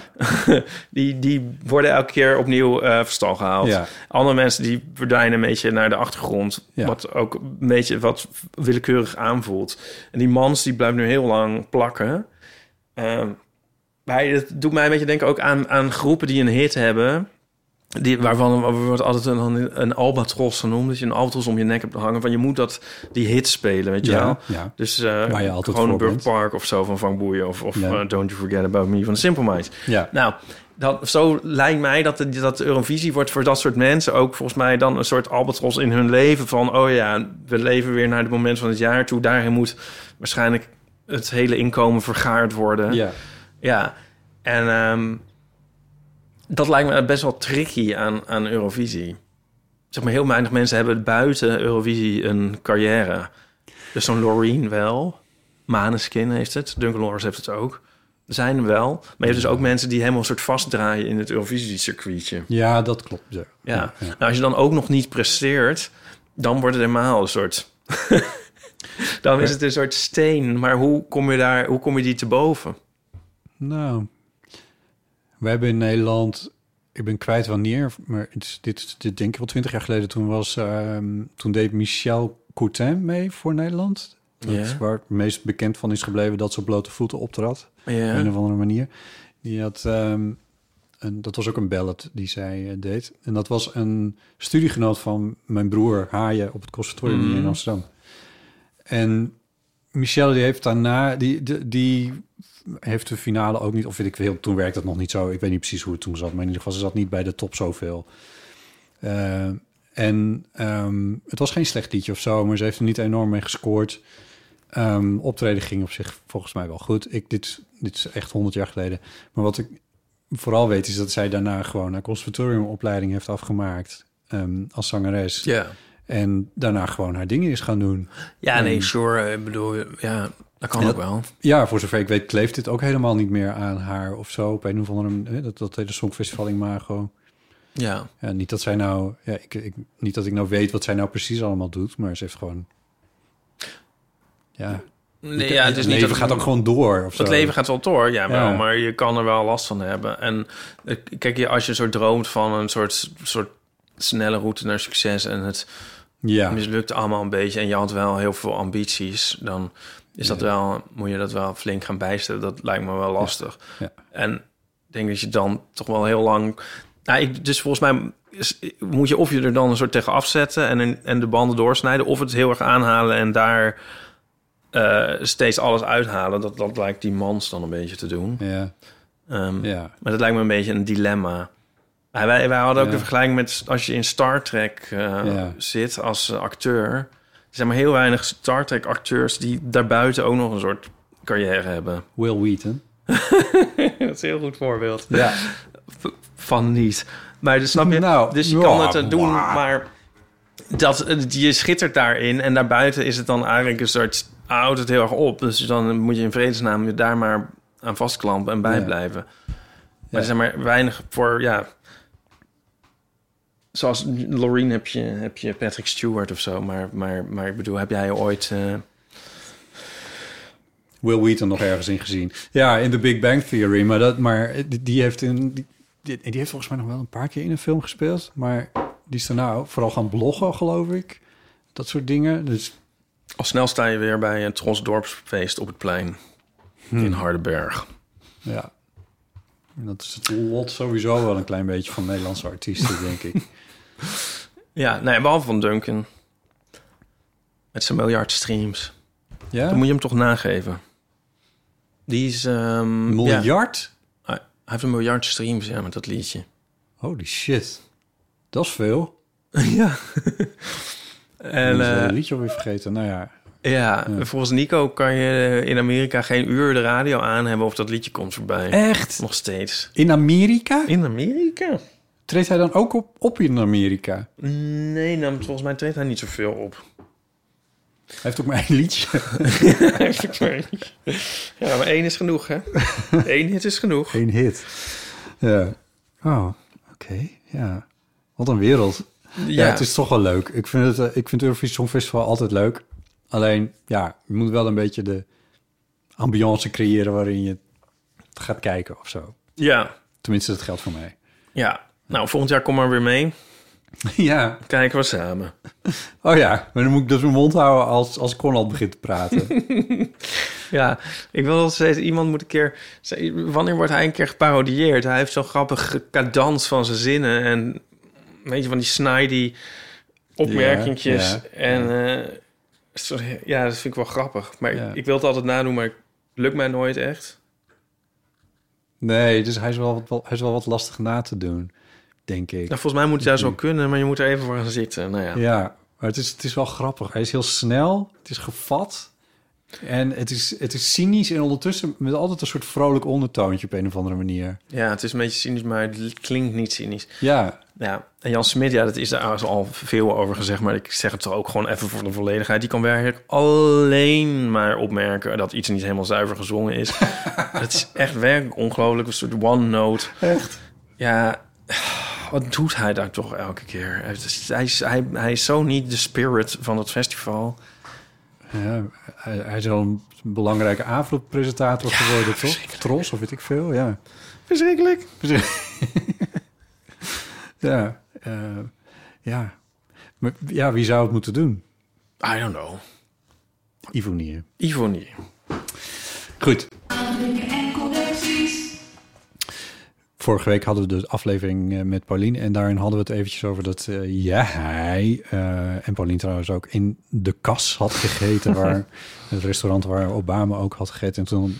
C: Die, die worden elke keer opnieuw eh van stal gehaald.
B: Ja.
C: Andere mensen die verdwijnen een beetje naar de achtergrond.
B: Ja.
C: Wat ook een beetje wat willekeurig aanvoelt. En die mans die blijft nu heel lang plakken. Ehm, maar het doet mij een beetje denken ook aan, aan groepen die een hit hebben. Die, waarvan er wordt altijd een, een albatros genoemd. Dat je een albatros om je nek hebt hangen. Van je moet dat, die hit spelen, weet je
B: Ja,
C: wel?
B: ja.
C: Dus eh
B: Waar je altijd voor
C: Kronenburg
B: bent.
C: Park of zo van Van Boeien. Of, of
B: Ja.
C: eh, Don't You Forget About Me van de Simple Minds.
B: Ja.
C: [LAUGHS] Nou, dat, zo lijkt mij dat, de- dat de Eurovisie wordt voor dat soort mensen ook volgens mij dan een soort albatros in hun leven. Van, oh ja, we leven weer naar het moment van het jaar toe. Daarin moet waarschijnlijk het hele inkomen vergaard worden.
B: Ja.
C: Ja, en ehm, dat lijkt me best wel tricky aan, aan Eurovisie. Zeg maar, heel weinig mensen hebben buiten Eurovisie een carrière. Dus zo'n Loreen wel. Maneskin heeft het. Duncan Lawrence heeft het ook. Er zijn er wel. Maar je hebt dus ook mensen die helemaal een soort vastdraaien in het Eurovisie-circuitje.
B: Ja, dat klopt. Ja.
C: Ja. Nou, als je dan ook nog niet presteert, dan wordt het helemaal een soort... [LAUGHS] dan is het een soort steen. Maar hoe kom je, daar, hoe kom je die te boven?
B: Nou, we hebben in Nederland... Ik ben kwijt wanneer, maar het is- dit, dit denk ik wel twintig jaar geleden. Toen, was, ehm, toen deed Michel Coutin mee voor Nederland. Dat
C: Ja.
B: is waar het meest bekend van is gebleven dat ze op blote voeten optrad.
C: Ja.
B: Op een of andere manier. Die had, ehm, een, dat was ook een ballad die zij eh, deed. En dat was een studiegenoot van mijn broer Haaien op het conservatorium hier in Amsterdam. En Michelle die heeft daarna, die, die, die heeft de finale ook niet, of weet ik veel, toen werkte dat nog niet zo. Ik weet niet precies hoe het toen zat, maar in ieder geval ze zat niet bij de top zoveel. Eh, en ehm, het was geen slecht liedje of zo, maar ze heeft er niet enorm mee gescoord. Ehm, optreden ging op zich volgens mij wel goed. Ik, dit, dit is echt 100 jaar geleden. Maar wat ik vooral weet is dat zij daarna gewoon een conservatoriumopleiding heeft afgemaakt ehm, als zangeres.
C: Ja.
B: En daarna gewoon haar dingen is gaan doen.
C: Ja, nee, sure. Ik bedoel, ja, dat kan
B: Ja.
C: ook wel.
B: Ja, voor zover ik weet kleeft dit ook helemaal niet meer aan haar of zo. Op een of andere hè, dat, dat hele Songfestival Imago.
C: Ja.
B: Ja, niet dat zij nou, ja, ik, ik, niet dat ik nou weet wat zij nou precies allemaal doet, maar ze heeft gewoon, ja,
C: Nee, ja, het is niet
B: leven
C: dat-
B: gaat ook gewoon door. Of zo.
C: Het leven gaat wel door, ja, wel,
B: Ja.
C: maar je kan er wel last van hebben. En eh, kijk, je- als je zo droomt van een soort, soort snelle route naar succes en dus het
B: ja,
C: mislukt allemaal een beetje en je had wel heel veel ambities, dan is dat wel, moet je dat wel flink gaan bijstellen. Dat lijkt me wel lastig.
B: Ja.
C: En ik denk dat je dan toch wel heel lang. Nou, ik, dus volgens mij is- moet je of je er dan een soort tegen afzetten en, een- en de banden doorsnijden, of het heel erg aanhalen en daar eh, steeds alles uithalen. Dat, dat lijkt die mans dan een beetje te doen.
B: ja,
C: Ehm,
B: ja.
C: maar dat lijkt me een beetje een dilemma. Ah, Wij, wij hadden ook
B: Ja.
C: de vergelijking met als je in Star Trek eh,
B: Ja.
C: zit als eh, acteur. Er zijn maar heel weinig Star Trek acteurs die daarbuiten ook nog een soort carrière hebben.
B: Will Wheaton.
C: [LAUGHS] dat is een heel goed voorbeeld.
B: Ja,
C: Van niet. Maar dus, snap je?
B: Nou,
C: dus je
B: ja,
C: kan het eh, doen,
B: maar-
C: maar dat, eh, je schittert daarin. En daarbuiten is het dan eigenlijk een soort... houdt het heel erg op. Dus dan moet je in vredesnaam je daar maar aan vastklampen en bij
B: Ja.
C: blijven. Maar
B: Ja.
C: er zijn maar weinig voor, ja... Zoals Loreen heb je, heb je Patrick Stewart of zo. Maar, maar, maar ik bedoel, heb jij ooit... eh,
B: Will Wheaton nog ergens in gezien. Ja, in The Big Bang Theory, maar dat, maar die- die heeft in, die, die die heeft volgens mij nog wel een paar keer in een film gespeeld, maar die is daarna ook vooral gaan bloggen, geloof ik. Dat soort dingen. Dus
C: al snel sta je weer bij een Trons Dorpsfeest op het plein.
B: Hmm.
C: In Hardenberg.
B: Ja. En dat is het lot sowieso wel een klein beetje van Nederlandse artiesten, denk ik.
C: Ja, nee, behalve van Duncan. Met zijn miljard streams.
B: [LAUGHS] Ja?
C: Dan moet je hem toch nageven. Die is... ehm,
B: Een
C: ja.
B: miljard?
C: Hij, hij heeft een miljard streams, ja, met dat
B: [LAUGHS]
C: liedje.
B: Holy shit. Dat is veel.
C: ja.
B: En,
C: en,
B: ik
C: eh,
B: eh, het liedje alweer vergeten. Nou ja,
C: Ja, eh, volgens Nico kan je in Amerika geen uur de radio aan hebben of dat liedje komt voorbij.
B: Echt?
C: Nog steeds.
B: In Amerika?
C: In Amerika?
B: Treedt hij dan ook op, op in Amerika?
C: Nee, nou, volgens mij treedt hij niet zoveel
B: [LAUGHS]
C: op.
B: Hij heeft ook maar één liedje.
C: ja, maar één is
B: [LAUGHS]
C: genoeg, hè? Eén hit is
B: [LAUGHS]
C: genoeg.
B: Eén hit. Ja. Oh, oké. Ja. Wat een wereld. Ja. het is toch wel leuk. Ik vind het, eh, ik vind het Eurovisie Songfestival altijd leuk. Alleen, ja, je moet wel een beetje de ambiance creëren waarin je het gaat kijken of zo.
C: ja,
B: Tenminste, dat geldt voor mij.
C: ja. Nou, volgend jaar kom maar weer mee.
B: [LAUGHS] ja.
C: Kijken we samen.
B: Oh ja, maar dan moet ik dus mijn mond houden als, als Conrad begint te [LAUGHS] praten.
C: Ja, ik wil nog steeds... Iemand moet een keer... Wanneer wordt hij een keer geparodieerd? Hij heeft zo'n grappige cadans van zijn zinnen. En een beetje van die snidey opmerkingjes.
B: Ja, ja,
C: en eh, sorry, ja, dat vind ik wel grappig. Maar
B: Ja.
C: ik, ik wil het altijd nadoen, maar het lukt mij nooit echt.
B: nee, dus hij is, wel wat, hij is wel wat lastig na te doen, denk ik.
C: Nou, volgens mij moet het juist wel kunnen, maar je moet er even voor gaan zitten. Nou ja.
B: Ja, maar het is, het is wel grappig. Hij is heel snel, het is gevat. En het is, het is cynisch en ondertussen met altijd een soort vrolijk ondertoontje op een of andere manier.
C: Ja, het is een beetje cynisch, maar het klinkt niet cynisch.
B: Ja,
C: Ja, en Jan Smit, ja, dat is daar al veel over gezegd, maar ik zeg het toch ook gewoon even voor de volledigheid. Die kan werkelijk alleen maar opmerken dat iets niet helemaal zuiver gezongen
B: [LAUGHS]
C: is. Het is echt werkelijk ongelooflijk, een soort one note.
B: echt.
C: Ja, wat doet hij daar toch elke keer? Het is- Hij is, hij, hij is zo niet de spirit van het festival.
B: Ja, hij, hij is wel een belangrijke avondpresentator geworden, toch? Tros of weet ik veel, ja.
C: Verschrikkelijk.
B: Ja, eh, ja. Maar, ja, wie zou het moeten doen?
C: I don't know.
B: Ivonie.
C: Ivonie.
B: Goed. Vorige week hadden we dus aflevering eh, met Paulien en daarin hadden we het eventjes over dat eh, jij eh, en Paulien trouwens ook in de kas had gegeten, waar het restaurant waar Obama ook had gegeten. En toen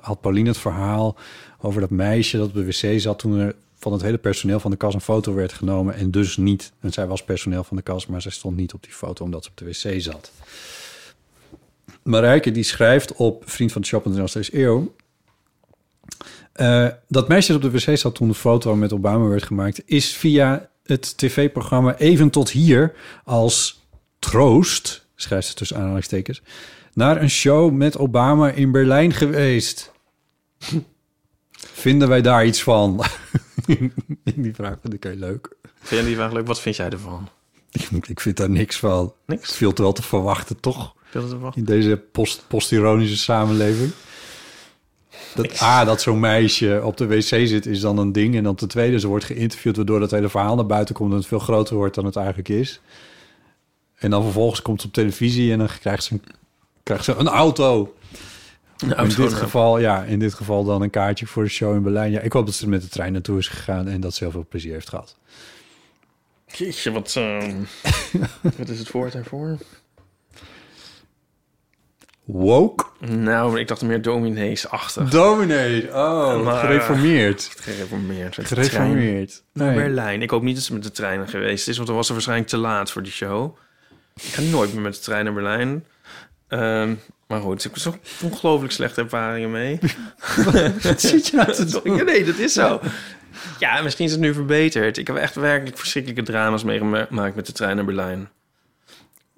B: had Paulien het verhaal over dat meisje dat op de wc zat toen er van het hele personeel van de kas een foto werd genomen en dus niet. En zij was personeel van de kas, maar zij stond niet op die foto omdat ze op de wc zat. Marijke die schrijft op Vriend van de Shop en de steeds eeuw. eh, dat meisje dat op de wc zat toen de foto met Obama werd gemaakt, is via het tv-programma Even tot hier als troost, schrijft ze tussen aanhalingstekens, naar een show met Obama in Berlijn geweest. Vinden wij daar iets van? [LAUGHS] die vraag vind ik heel leuk.
C: Vind jij die vraag leuk? Wat vind jij ervan?
B: Ik vind daar niks van.
C: Niks?
B: Het viel te wel te verwachten, toch?
C: Wil je dat wel?
B: in deze post, postironische samenleving. Dat A, dat zo'n meisje op de wc zit, is dan een ding. En dan ten tweede, ze wordt geïnterviewd... waardoor dat hele verhaal naar buiten komt... en het veel groter wordt dan het eigenlijk is. En dan vervolgens komt ze op televisie... en dan krijgt ze een, krijgt ze een auto.
C: Nou,
B: in, dit
C: zo-
B: geval, ja, in dit geval dan een kaartje voor de show in Berlijn. Ja, ik hoop dat ze er met de trein naartoe is gegaan... en dat ze heel veel plezier heeft gehad.
C: eh, Jeetje, wat,
B: [LAUGHS]
C: ehm, wat is het woord daarvoor?
B: Woke
C: Nou, ik dacht meer domineesachtig.
B: dominee. Oh,
C: Maar-
B: gereformeerd.
C: Gereformeerd. Met de trein
B: Gereformeerd.
C: naar
B: Nee.
C: Berlijn. Ik hoop niet dat ze met de trein geweest is, want dan was ze waarschijnlijk te laat voor die show. Ik ga nooit meer met de trein naar Berlijn. Ehm, maar goed, ik heb zo'n ongelooflijk slechte ervaringen
B: [LAUGHS]
C: mee.
B: [LAUGHS] Wat zit je nou te doen?
C: Ja, nee, dat is zo. Ja, misschien is het nu verbeterd. Ik heb echt werkelijk verschrikkelijke drama's meegemaakt met de trein naar Berlijn.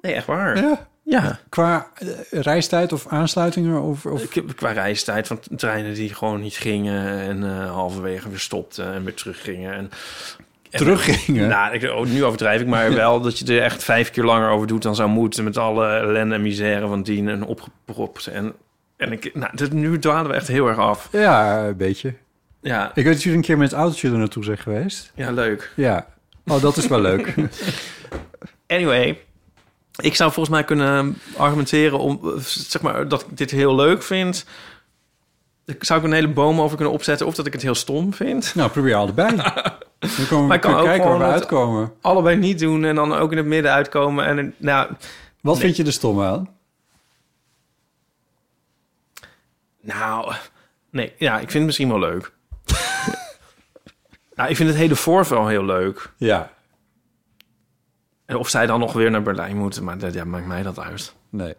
C: Nee, echt waar.
B: Ja.
C: ja.
B: Qua eh, reistijd of aansluitingen? Of, of...
C: Ik heb qua reistijd van t- treinen die gewoon niet gingen en eh, halverwege weer stopten en weer teruggingen. En, en-
B: Teruggingen?
C: Nou, ik, oh, nu overdrijf ik, [LAUGHS] maar wel dat je er echt vijf keer langer over doet dan zou moeten. Met alle ellende en misère van dien en opgepropt. En, en ik, nou, dit, nu dwalen we echt heel erg af.
B: Ja, een beetje.
C: Ja,
B: Ik weet dat jullie een keer met het autootje er naartoe zijn geweest.
C: ja leuk.
B: Ja. Oh, dat is wel
C: [LAUGHS]
B: leuk.
C: Anyway, ik zou volgens mij kunnen argumenteren om, eh, zeg maar, dat ik dit heel leuk vind. Ik zou ik een hele boom over kunnen opzetten of dat ik het heel stom vind.
B: nou, probeer allebei. Dan komen
C: Maar
B: we
C: ik kan
B: kunnen
C: ook
B: kijken waar
C: gewoon
B: we
C: het-
B: uitkomen.
C: allebei niet doen en dan ook in het midden uitkomen. En een- nou,
B: Wat vind je er stom aan?
C: nou, nee, ja, ik vind het misschien wel leuk. [LAUGHS] nou, ik vind het hele voorval heel leuk.
B: Ja.
C: En of zij dan nog weer naar Berlijn moeten, maar dat ja, maakt mij dat uit.
B: Nee.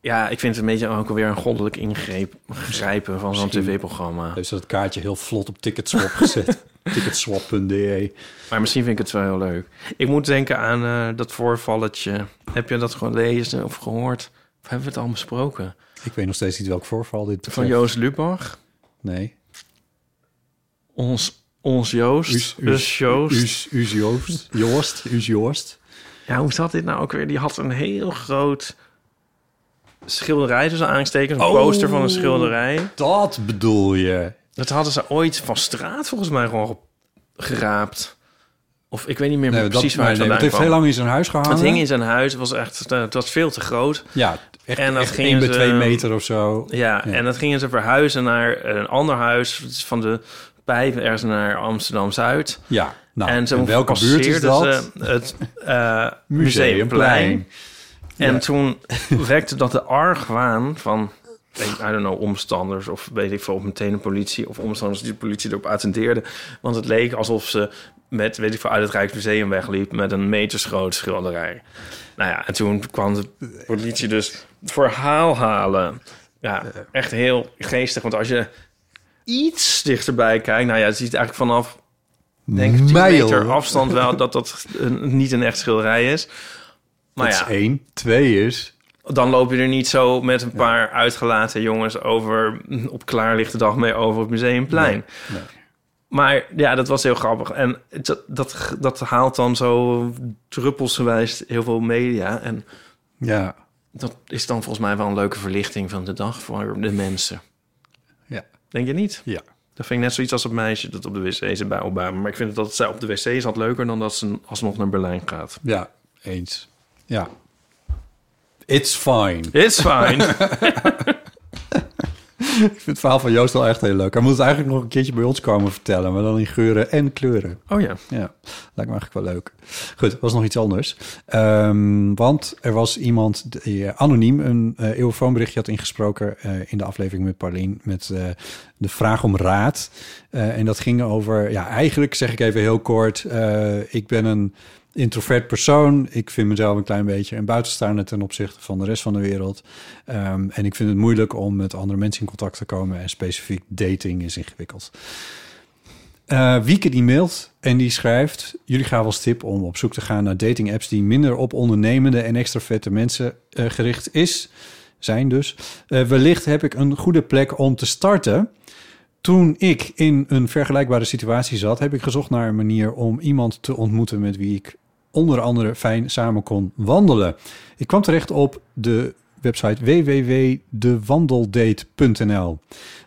C: ja, ik vind het een beetje ook alweer een goddelijk ingreep grijpen van zo'n
B: Misschien.
C: tv-programma.
B: Heeft ze dat kaartje heel vlot op Ticketswap
C: [LAUGHS]
B: gezet. Ticketswap.de.
C: Maar misschien vind ik het wel heel leuk. Ik moet denken aan eh, dat voorvalletje. Heb je dat gelezen of gehoord? Of hebben we het al besproken?
B: Ik weet nog steeds niet welk voorval dit
C: Van
B: betreft.
C: Joost Lubach.
B: Nee.
C: Ons, ons Joost. dus Joost.
B: Us, us
C: [LAUGHS]
B: Joost. Joost. Us Joost.
C: Ja, hoe zat dit nou ook weer? Die had een heel groot schilderij tussen aanstekens. Een
B: Oh.
C: poster van een schilderij.
B: Dat bedoel je.
C: Dat hadden ze ooit van straat volgens mij gewoon ge- geraapt. Of ik weet niet meer
B: Nee,
C: precies
B: dat,
C: waar
B: nee, nee,
C: het vandaan
B: het heeft
C: kwam.
B: heel lang in zijn huis gehangen.
C: Het hing in zijn huis. Het was, echt, eh, het was veel te groot.
B: Ja, echt,
C: En dat
B: echt
C: gingen
B: één bij
C: ze-
B: twee meter of zo.
C: Ja, en dat gingen ze verhuizen naar een ander huis. Het is Van de Pijp ergens naar Amsterdam-Zuid.
B: Ja, nou, en,
C: en zo
B: welke buurt is
C: passeerden
B: dat?
C: ze
B: [LAUGHS]
C: het eh, Museumplein.
B: Museumplein.
C: En
B: Ja.
C: toen wekte dat de argwaan van, ik I don't know, omstanders of weet ik veel, meteen de politie of omstanders die de politie erop attendeerden. Want het leek alsof ze met, weet ik veel, uit het Rijksmuseum wegliep met een metersgroot schilderij. Nou ja, en toen kwam de politie dus het verhaal halen. Ja, echt heel geestig, want als je iets dichterbij kijkt, nou ja, je ziet eigenlijk vanaf denk ik, 10
B: Mijl.
C: meter afstand wel dat dat een- niet een echt schilderij is. Maar
B: Dat is
C: nou ja,
B: één. Twee is...
C: dan loop je er niet zo met een paar uitgelaten jongens over mm, op klaarlichte dag mee over het museumplein. Maar ja, dat was heel grappig. En het- dat, dat, dat haalt dan zo druppelsgewijs heel veel media. En
B: Ja,
C: dat is dan volgens mij wel een leuke verlichting van de dag voor de mensen.
B: ja,
C: Denk je niet?
B: ja.
C: Dat vind ik net zoiets als het meisje dat op de wc zit bij Obama. Maar ik vind dat zij op de wc zat leuker dan dat ze alsnog naar Berlijn gaat.
B: Ja, eens. Ja. It's fine.
C: It's fine.
B: [LAUGHS] Ik vind het verhaal van Joost wel echt heel leuk. Hij moet het eigenlijk nog een keertje bij ons komen vertellen. Maar dan in geuren en kleuren.
C: oh ja.
B: Ja, lijkt me eigenlijk wel leuk. Goed, was nog iets anders. Ehm, want er was iemand die eh, anoniem een eh eeuwfoonberichtje had ingesproken eh, in de aflevering met Paulien met eh, de vraag om raad. Eh, en dat ging over, ja, eigenlijk zeg ik even heel kort, eh, ik ben een introvert persoon. Ik vind mezelf een klein beetje een buitenstaander ten opzichte van de rest van de wereld. Ehm, en ik vind het moeilijk om met andere mensen in contact te komen en specifiek dating is ingewikkeld. Eh, Wieke die mailt en die schrijft... jullie gaan als tip om op zoek te gaan naar dating apps... die minder op ondernemende en extraverte mensen eh, gericht is. Zijn dus. Eh, wellicht heb ik een goede plek om te starten. Toen ik in een vergelijkbare situatie zat... heb ik gezocht naar een manier om iemand te ontmoeten... met wie ik onder andere fijn samen kon wandelen. Ik kwam terecht op de website www.dewandeldate.nl...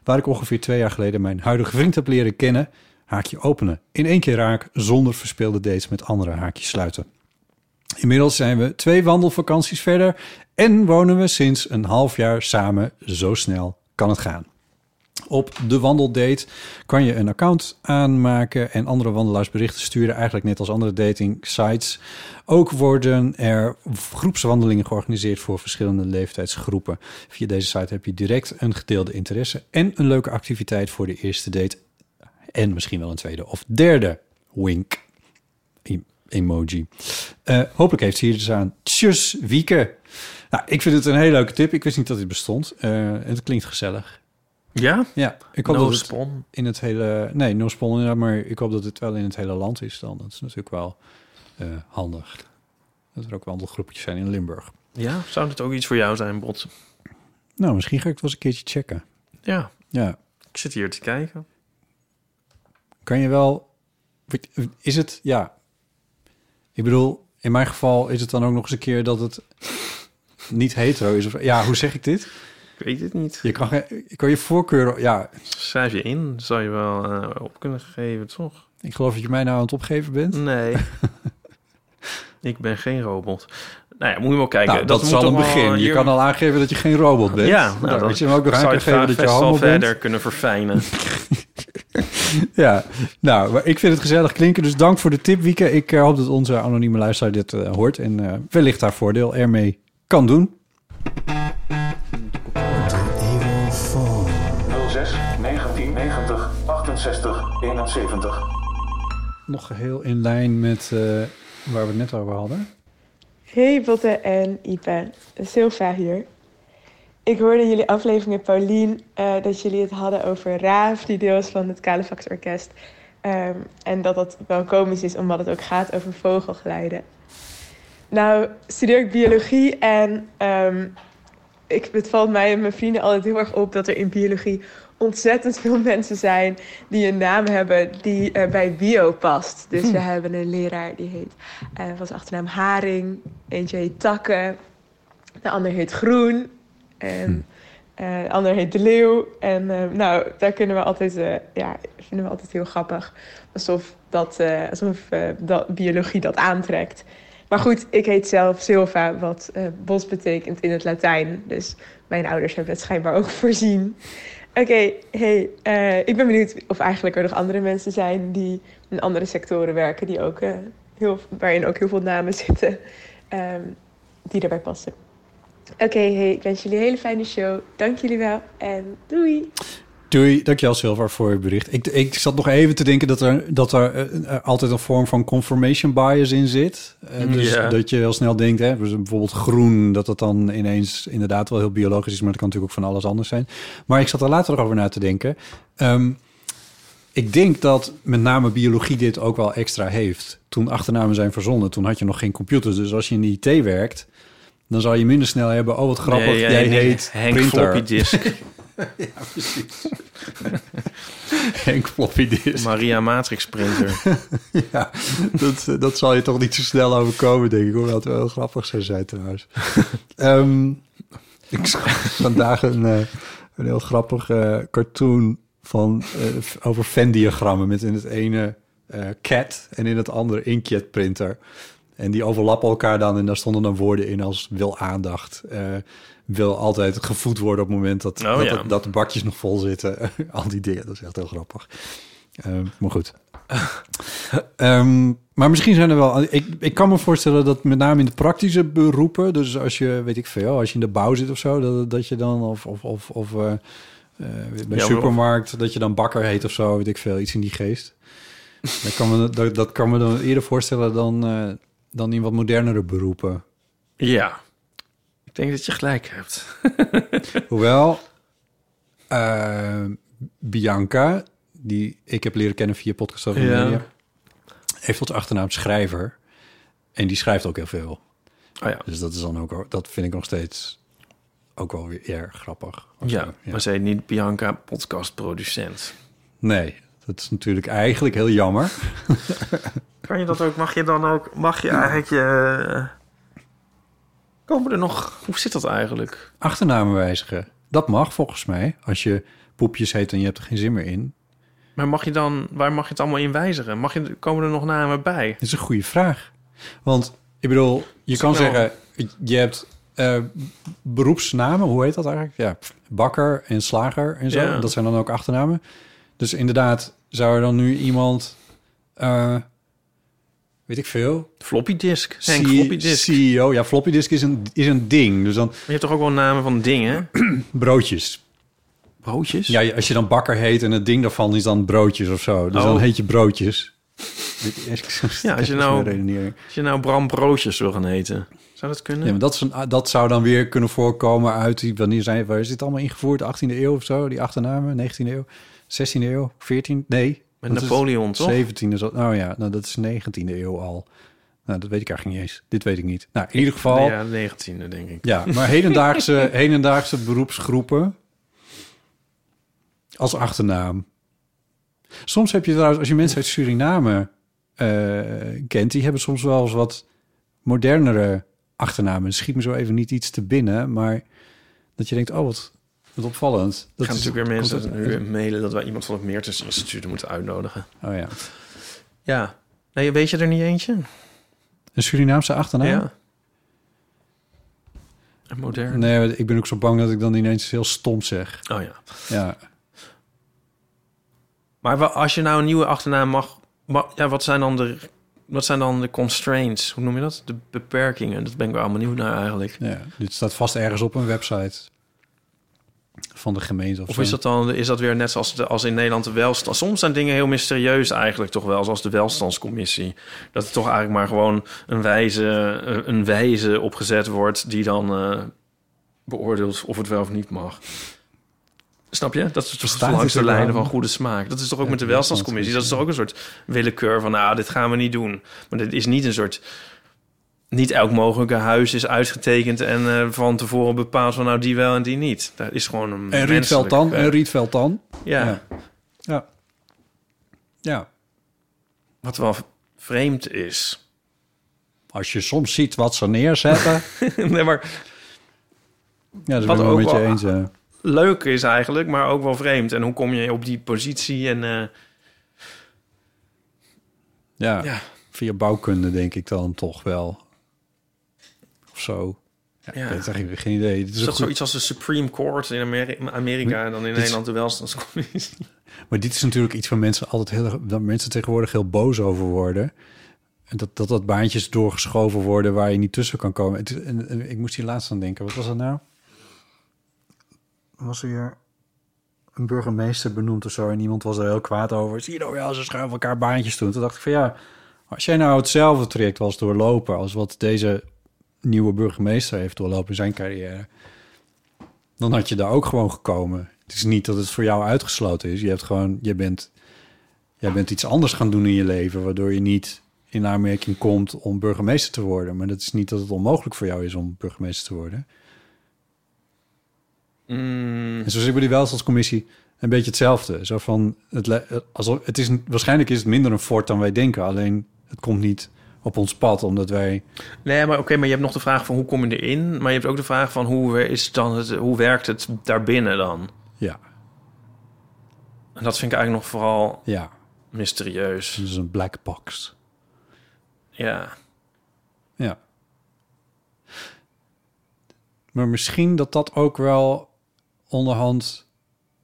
B: waar ik ongeveer twee jaar geleden mijn huidige vriend heb leren kennen haakje openen. In één keer raak, zonder verspeelde dates met andere haakjes sluiten. Inmiddels zijn we twee wandelvakanties verder en wonen we sinds een half jaar samen. Zo snel kan het gaan. Op de wandeldate kan je een account aanmaken en andere wandelaars berichten sturen, eigenlijk net als andere dating sites. Ook worden er groepswandelingen georganiseerd voor verschillende leeftijdsgroepen. Via deze site heb je direct een gedeelde interesse en een leuke activiteit voor de eerste date en misschien wel een tweede of derde wink E- emoji. Eh, hopelijk heeft ze hier dus aan. Tjus, Wieke. Nou, ik vind het een hele leuke tip. Ik wist niet dat dit bestond. Eh, het klinkt gezellig.
C: Ja?
B: Ja, ik hoop
C: No
B: dat het
C: spon.
B: in het hele... Nee, no spawn inderdaad, maar ik hoop dat het wel in het hele land is dan. Dat is natuurlijk wel eh, handig. Dat er ook wandelgroepjes zijn in Limburg.
C: Ja? Zou dit ook iets voor jou zijn, Bot?
B: Nou, misschien ga ik het wel eens een keertje checken.
C: Ja.
B: Ja,
C: Ik zit hier te kijken.
B: kan je wel. Is het, ja. Ik bedoel, in mijn geval is het dan ook nog eens een keer dat het niet hetero is. Of, ja, hoe zeg ik dit?
C: Ik weet het niet.
B: Je kan, geen- je kan je voorkeur, ja.
C: Schrijf je in. Zou je wel eh, op kunnen geven, toch?
B: Ik geloof dat je mij nou aan het opgeven bent. [LAUGHS]
C: Nee. ik ben geen robot. Nou ja, moet je wel kijken.
B: Nou, dat,
C: moet
B: is al
C: toch
B: een
C: wel
B: begin. Je
C: hier-
B: kan al aangeven dat je geen robot bent.
C: Ja, nou,
B: nou,
C: dan
B: dat je hem ook nog aan
C: zou
B: kan
C: ik
B: geven
C: graag
B: dat je
C: best wel
B: homo
C: verder
B: bent.
C: kunnen verfijnen.
B: Ja, nou, maar ik vind het gezellig klinken. Dus dank voor de tip, Wieke. Ik eh, hoop dat onze anonieme luisteraar dit eh, hoort. En eh, wellicht haar voordeel ermee kan doen.
D: 06 1990 68 71.
B: Nog geheel in lijn met eh, waar we het net over hadden.
E: Hey Botte en Ipe, Silva hier.
F: Ik hoorde in jullie aflevering met Paulien eh, dat jullie het hadden over Raaf, die deel is van het Kalefax Orkest. Ehm, en dat dat wel komisch is, omdat het ook gaat over vogelgeluiden. Nou, studeer ik biologie en ehm, ik, het valt mij en mijn vrienden altijd heel erg op dat er in biologie ontzettend veel [LAUGHS] mensen zijn die een naam hebben die eh, bij bio past. Dus we hebben een leraar die heet, eh van zijn achternaam Haring, eentje heet Takken, de ander heet Groen, en eh, de ander heet De Leeuw. En eh, nou, daar kunnen we altijd, eh, ja, vinden we altijd heel grappig. Alsof, dat, eh, alsof eh, dat biologie dat aantrekt. Maar goed, ik heet zelf Silva, wat eh, bos betekent in het Latijn. Dus mijn ouders hebben dat schijnbaar ook [LAUGHS] voorzien. Oké, hey, eh, ik ben benieuwd of eigenlijk er nog andere mensen zijn die in andere sectoren werken, die ook, eh, heel, waarin ook heel veel namen [LAUGHS] zitten ehm, die daarbij passen. Oké, hey, ik wens jullie een hele fijne show. Dank jullie wel en doei.
B: Doei, dankjewel Silver voor je bericht. Ik, ik zat nog even te denken dat er, dat er eh, eh, altijd een vorm van confirmation bias in zit. Eh, dus
C: Mm, Ja.
B: dat je heel snel denkt, hè, dus bijvoorbeeld groen, dat het dan ineens inderdaad wel heel biologisch is, maar dat kan natuurlijk ook van alles anders zijn. Maar ik zat er later nog over na te denken. Ehm, ik denk dat met name biologie dit ook wel extra heeft. Toen achternamen zijn verzonnen, toen had je nog geen computers. Dus als je in de IT werkt, dan zal je minder snel hebben, oh wat grappig,
C: Nee,
B: jij
C: nee,
B: heet
C: Henk
B: printer.
C: Floppy Disk,
B: [LAUGHS] Henk Floppy disk.
C: Maria Matrix [LAUGHS] Printer.
B: [LAUGHS] Ja, dat, eh, dat zal je toch niet zo snel overkomen, denk ik. Hoewel het wel heel grappig zou zijn
C: [LAUGHS]
B: trouwens. Ehm, ik zag vandaag een, eh, een heel grappig eh, cartoon van, eh, f- over Venn-diagrammen... met in het ene eh, cat en in het andere inkjetprinter. En die overlappen elkaar dan en daar stonden dan woorden in als wil aandacht... eh, wil altijd gevoed worden op het moment dat,
C: Oh,
B: dat,
C: ja.
B: dat, dat de bakjes nog vol zitten. [LAUGHS] Al die dingen, dat is echt heel grappig. Ehm, maar goed. Ehm, maar misschien zijn er wel. Ik, ik kan me voorstellen dat met name in de praktische beroepen. Dus als je, weet ik veel, als je in de bouw zit of zo, dat, dat je dan. Of, of, of, of eh, eh, bij
C: of-
B: supermarkt, dat je dan bakker heet of zo, weet ik veel, iets in die geest. Dat kan me, dat, dat kan me dan eerder voorstellen dan, eh, dan in wat modernere beroepen.
C: ja, ik denk dat je gelijk hebt.
B: Hoewel, eh, Bianca, die ik heb leren kennen via podcast over
C: Ja.
B: media, heeft tot achternaam schrijver. En die schrijft ook heel veel.
C: Oh ja,
B: Dus dat is dan ook, dat vind ik nog steeds ook wel weer erg grappig. Of
C: ja,
B: zo,
C: maar zij niet Bianca podcastproducent.
B: Nee, dat is natuurlijk eigenlijk heel jammer.
C: Kan je dat ook? Mag je dan ook? Mag je eigenlijk je? Komen er nog? Hoe zit dat eigenlijk?
B: Achternamen wijzigen, dat mag volgens mij. Als je poepjes heet en je hebt er geen zin meer in.
C: Maar mag je dan? Waar mag je het allemaal in wijzigen? Mag je? Komen er nog namen bij?
B: Dat is een goede vraag. Want ik bedoel, je kan
C: nou-
B: zeggen, je hebt eh, beroepsnamen, hoe heet dat eigenlijk? Ja, bakker en slager en zo.
C: Ja.
B: Dat zijn dan ook achternamen. Dus inderdaad, zou er dan nu iemand, eh, weet ik veel,
C: Floppy disk. Henk
B: C-
C: floppy disk. Maar
B: CEO, ja, floppy disk is een, is een ding. Dus dan
C: je hebt toch ook wel namen van dingen?
B: broodjes.
C: Broodjes.
B: Ja, je- als je dan bakker heet en het ding daarvan is dan broodjes of zo. Dus
C: Oh.
B: dan heet je broodjes. [LAUGHS] Dit is-
C: Ja, als je
B: dit is mijn
C: nou-
B: redenering.
C: Als je nou Bram Broodjes wil gaan heten, zou dat kunnen?
B: Ja, maar dat, is een- dat zou dan weer kunnen voorkomen uit die, wanneer zijn, waar is dit allemaal ingevoerd? De 18e eeuw of zo, die achternamen, 19e eeuw, 16e eeuw, 14e, nee.
C: Met
B: dat is
C: Napoleon, toch?
B: 17e, zo- nou ja, nou, dat is 19e eeuw al. Nou, dat weet ik eigenlijk niet eens. Dit weet ik niet. Nou, in ieder geval,
C: Nee,
B: ja,
C: ja, 19e denk ik.
B: maar hedendaagse, hedendaagse beroepsgroepen als achternaam. Soms heb je trouwens, als je mensen uit Suriname eh, kent, die hebben soms wel eens wat modernere achternamen. Het Schiet me zo even niet iets te binnen, maar dat je denkt, oh wat, wat opvallend. Dat
C: gaan
B: is-
C: natuurlijk weer
B: komt
C: mensen
B: uit-
C: nu mailen dat wij iemand van het Meertens Instituut moeten uitnodigen.
B: Oh ja,
C: Ja. Nee, weet je er niet eentje?
B: een Surinaamse achternaam?
C: Ja. En modern.
B: Nee, want ik ben ook zo bang dat ik dan ineens heel stom zeg.
C: Oh ja.
B: Ja,
C: Maar wa- als je nou een nieuwe achternaam mag... ma- ja, wat, zijn dan de, wat zijn dan de constraints? Hoe noem je dat? De beperkingen. Dat ben ik wel benieuwd naar eigenlijk.
B: ja, dit staat vast ergens op een website van de gemeente of,
C: Of
B: zo.
C: is dat dan is dat weer net zoals, de, als in Nederland de welstand? Soms zijn dingen heel mysterieus eigenlijk toch wel, zoals de welstandscommissie. Dat er toch eigenlijk maar gewoon een wijze, een wijze opgezet wordt die dan eh, beoordeelt of het wel of niet mag. Snap je? Dat is toch
B: Staat
C: de langs
B: het
C: de
B: er
C: lijnen
B: dan?
C: van goede smaak. Dat is toch ook
B: Ja,
C: met de
B: dat is
C: welstandscommissie. Dat is
B: lastig,
C: toch ook een soort willekeur van... nou, dit gaan we niet doen. Maar dit is niet een soort... Niet elk mogelijke huis is uitgetekend en eh, van tevoren bepaald van nou die wel en die niet. Daar is gewoon een
B: En Rietveld dan, en
C: menselijk, eh,
B: Rietveld dan.
C: ja,
B: Ja. Ja. Ja.
C: wat wel vreemd is. [LAUGHS]
B: Als je soms ziet wat ze neerzetten.
C: nee, maar
B: ja, dat
C: Wat
B: ben ik wel
C: ook
B: met je
C: wel-
B: eens. hè.
C: leuk is eigenlijk, maar ook wel vreemd. En hoe kom je op die positie? En eh,
B: Ja.
C: ja,
B: Via bouwkunde denk ik dan toch wel. Of zo. Ja,
C: Ja.
B: Ik weet het eigenlijk geen idee. Dit is
C: is
B: een
C: dat
B: goed-
C: zoiets als de Supreme Court in Ameri- Amerika en dan in
B: is-
C: Nederland de [LAUGHS] welstandscommissie?
B: Maar dit is natuurlijk iets waar mensen altijd heel erg, waar mensen tegenwoordig heel boos over worden. En dat, dat dat baantjes doorgeschoven worden waar je niet tussen kan komen. Het is- en, en ik moest hier laatst aan denken. Wat was dat nou? Was er hier een burgemeester benoemd of zo en iemand was er heel kwaad over. Zie je nou wel, ze schuiven elkaar baantjes toe. En Toen dacht ik van ja, als jij nou hetzelfde traject was doorlopen als wat deze nieuwe burgemeester heeft doorlopen in zijn carrière, dan had je daar ook gewoon gekomen. Het is niet dat het voor jou uitgesloten is. Je hebt gewoon, je bent, jij bent iets anders gaan doen in je leven, waardoor je niet in aanmerking komt om burgemeester te worden. Maar dat is niet dat het onmogelijk voor jou is om burgemeester te worden.
C: Mm,
B: En zo zit bij die welstandscommissie een beetje hetzelfde. Zo van, het, le- alsof, het is, een- waarschijnlijk is het minder een fort dan wij denken. Alleen het komt niet op ons pad, omdat wij...
C: nee, maar oké, maar je hebt nog de vraag van hoe kom je erin? Maar je hebt ook de vraag van hoe, wer- is het dan het, hoe werkt het daarbinnen dan?
B: Ja,
C: En dat vind ik eigenlijk nog vooral
B: ja,
C: mysterieus.
B: het is een black box.
C: Ja,
B: Ja. Maar misschien dat dat ook wel onderhand...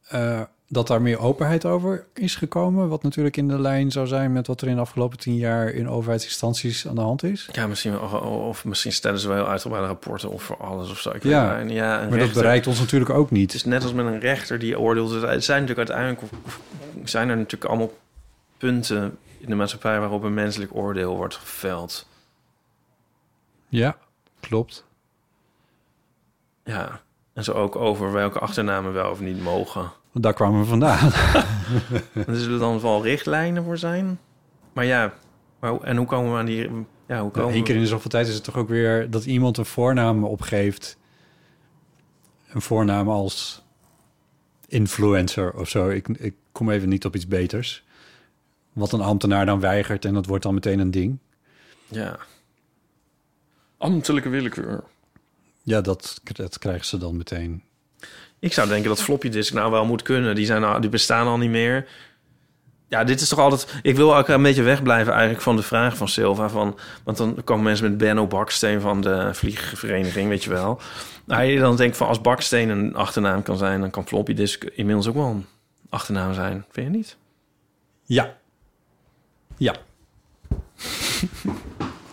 B: eh, dat daar meer openheid over is gekomen. Wat natuurlijk in de lijn zou zijn met wat er in de afgelopen tien jaar... in overheidsinstanties aan de hand is.
C: ja misschien, wel- of, of misschien stellen ze wel heel uitgebreide rapporten of voor alles of zo. Ik
B: Ja,
C: weet het niet. ja
B: Maar
C: een
B: dat
C: rechter- Dus-
B: bereikt ons natuurlijk ook niet.
C: Het is net als met een rechter die oordeelt. Het zijn natuurlijk uiteindelijk zijn er natuurlijk allemaal punten in de maatschappij waarop een menselijk oordeel wordt geveld.
B: Ja, klopt.
C: Ja. En zo ook over welke achternamen wel of niet mogen.
B: Want daar kwamen we vandaan.
C: En Er zullen dan wel richtlijnen voor zijn. Maar ja, maar, hoe- en hoe komen we aan die. Ja, hoe komen
B: Eén keer
C: we?
B: in de zoveel tijd is het toch ook weer dat iemand een voornaam opgeeft. Een voornaam als influencer of zo. Ik, ik kom even niet op iets beters. Wat een ambtenaar dan weigert en dat wordt dan meteen een ding.
C: Ja. Ambtelijke willekeur.
B: Ja, dat, dat krijgen ze dan meteen.
C: Ik zou denken dat floppy disk nou wel moet kunnen. Die, zijn al, die bestaan al niet meer. Ja, dit is toch altijd... Ik wil ook een beetje wegblijven eigenlijk van de vraag van Silva. Van, want dan komen mensen met Benno Baksteen van de Vliegvereniging, weet je wel. Nou, je dan denkt van als Baksteen een achternaam kan zijn... dan kan floppy disk inmiddels ook wel een achternaam zijn. Vind je niet?
B: Ja. Ja. [LAUGHS]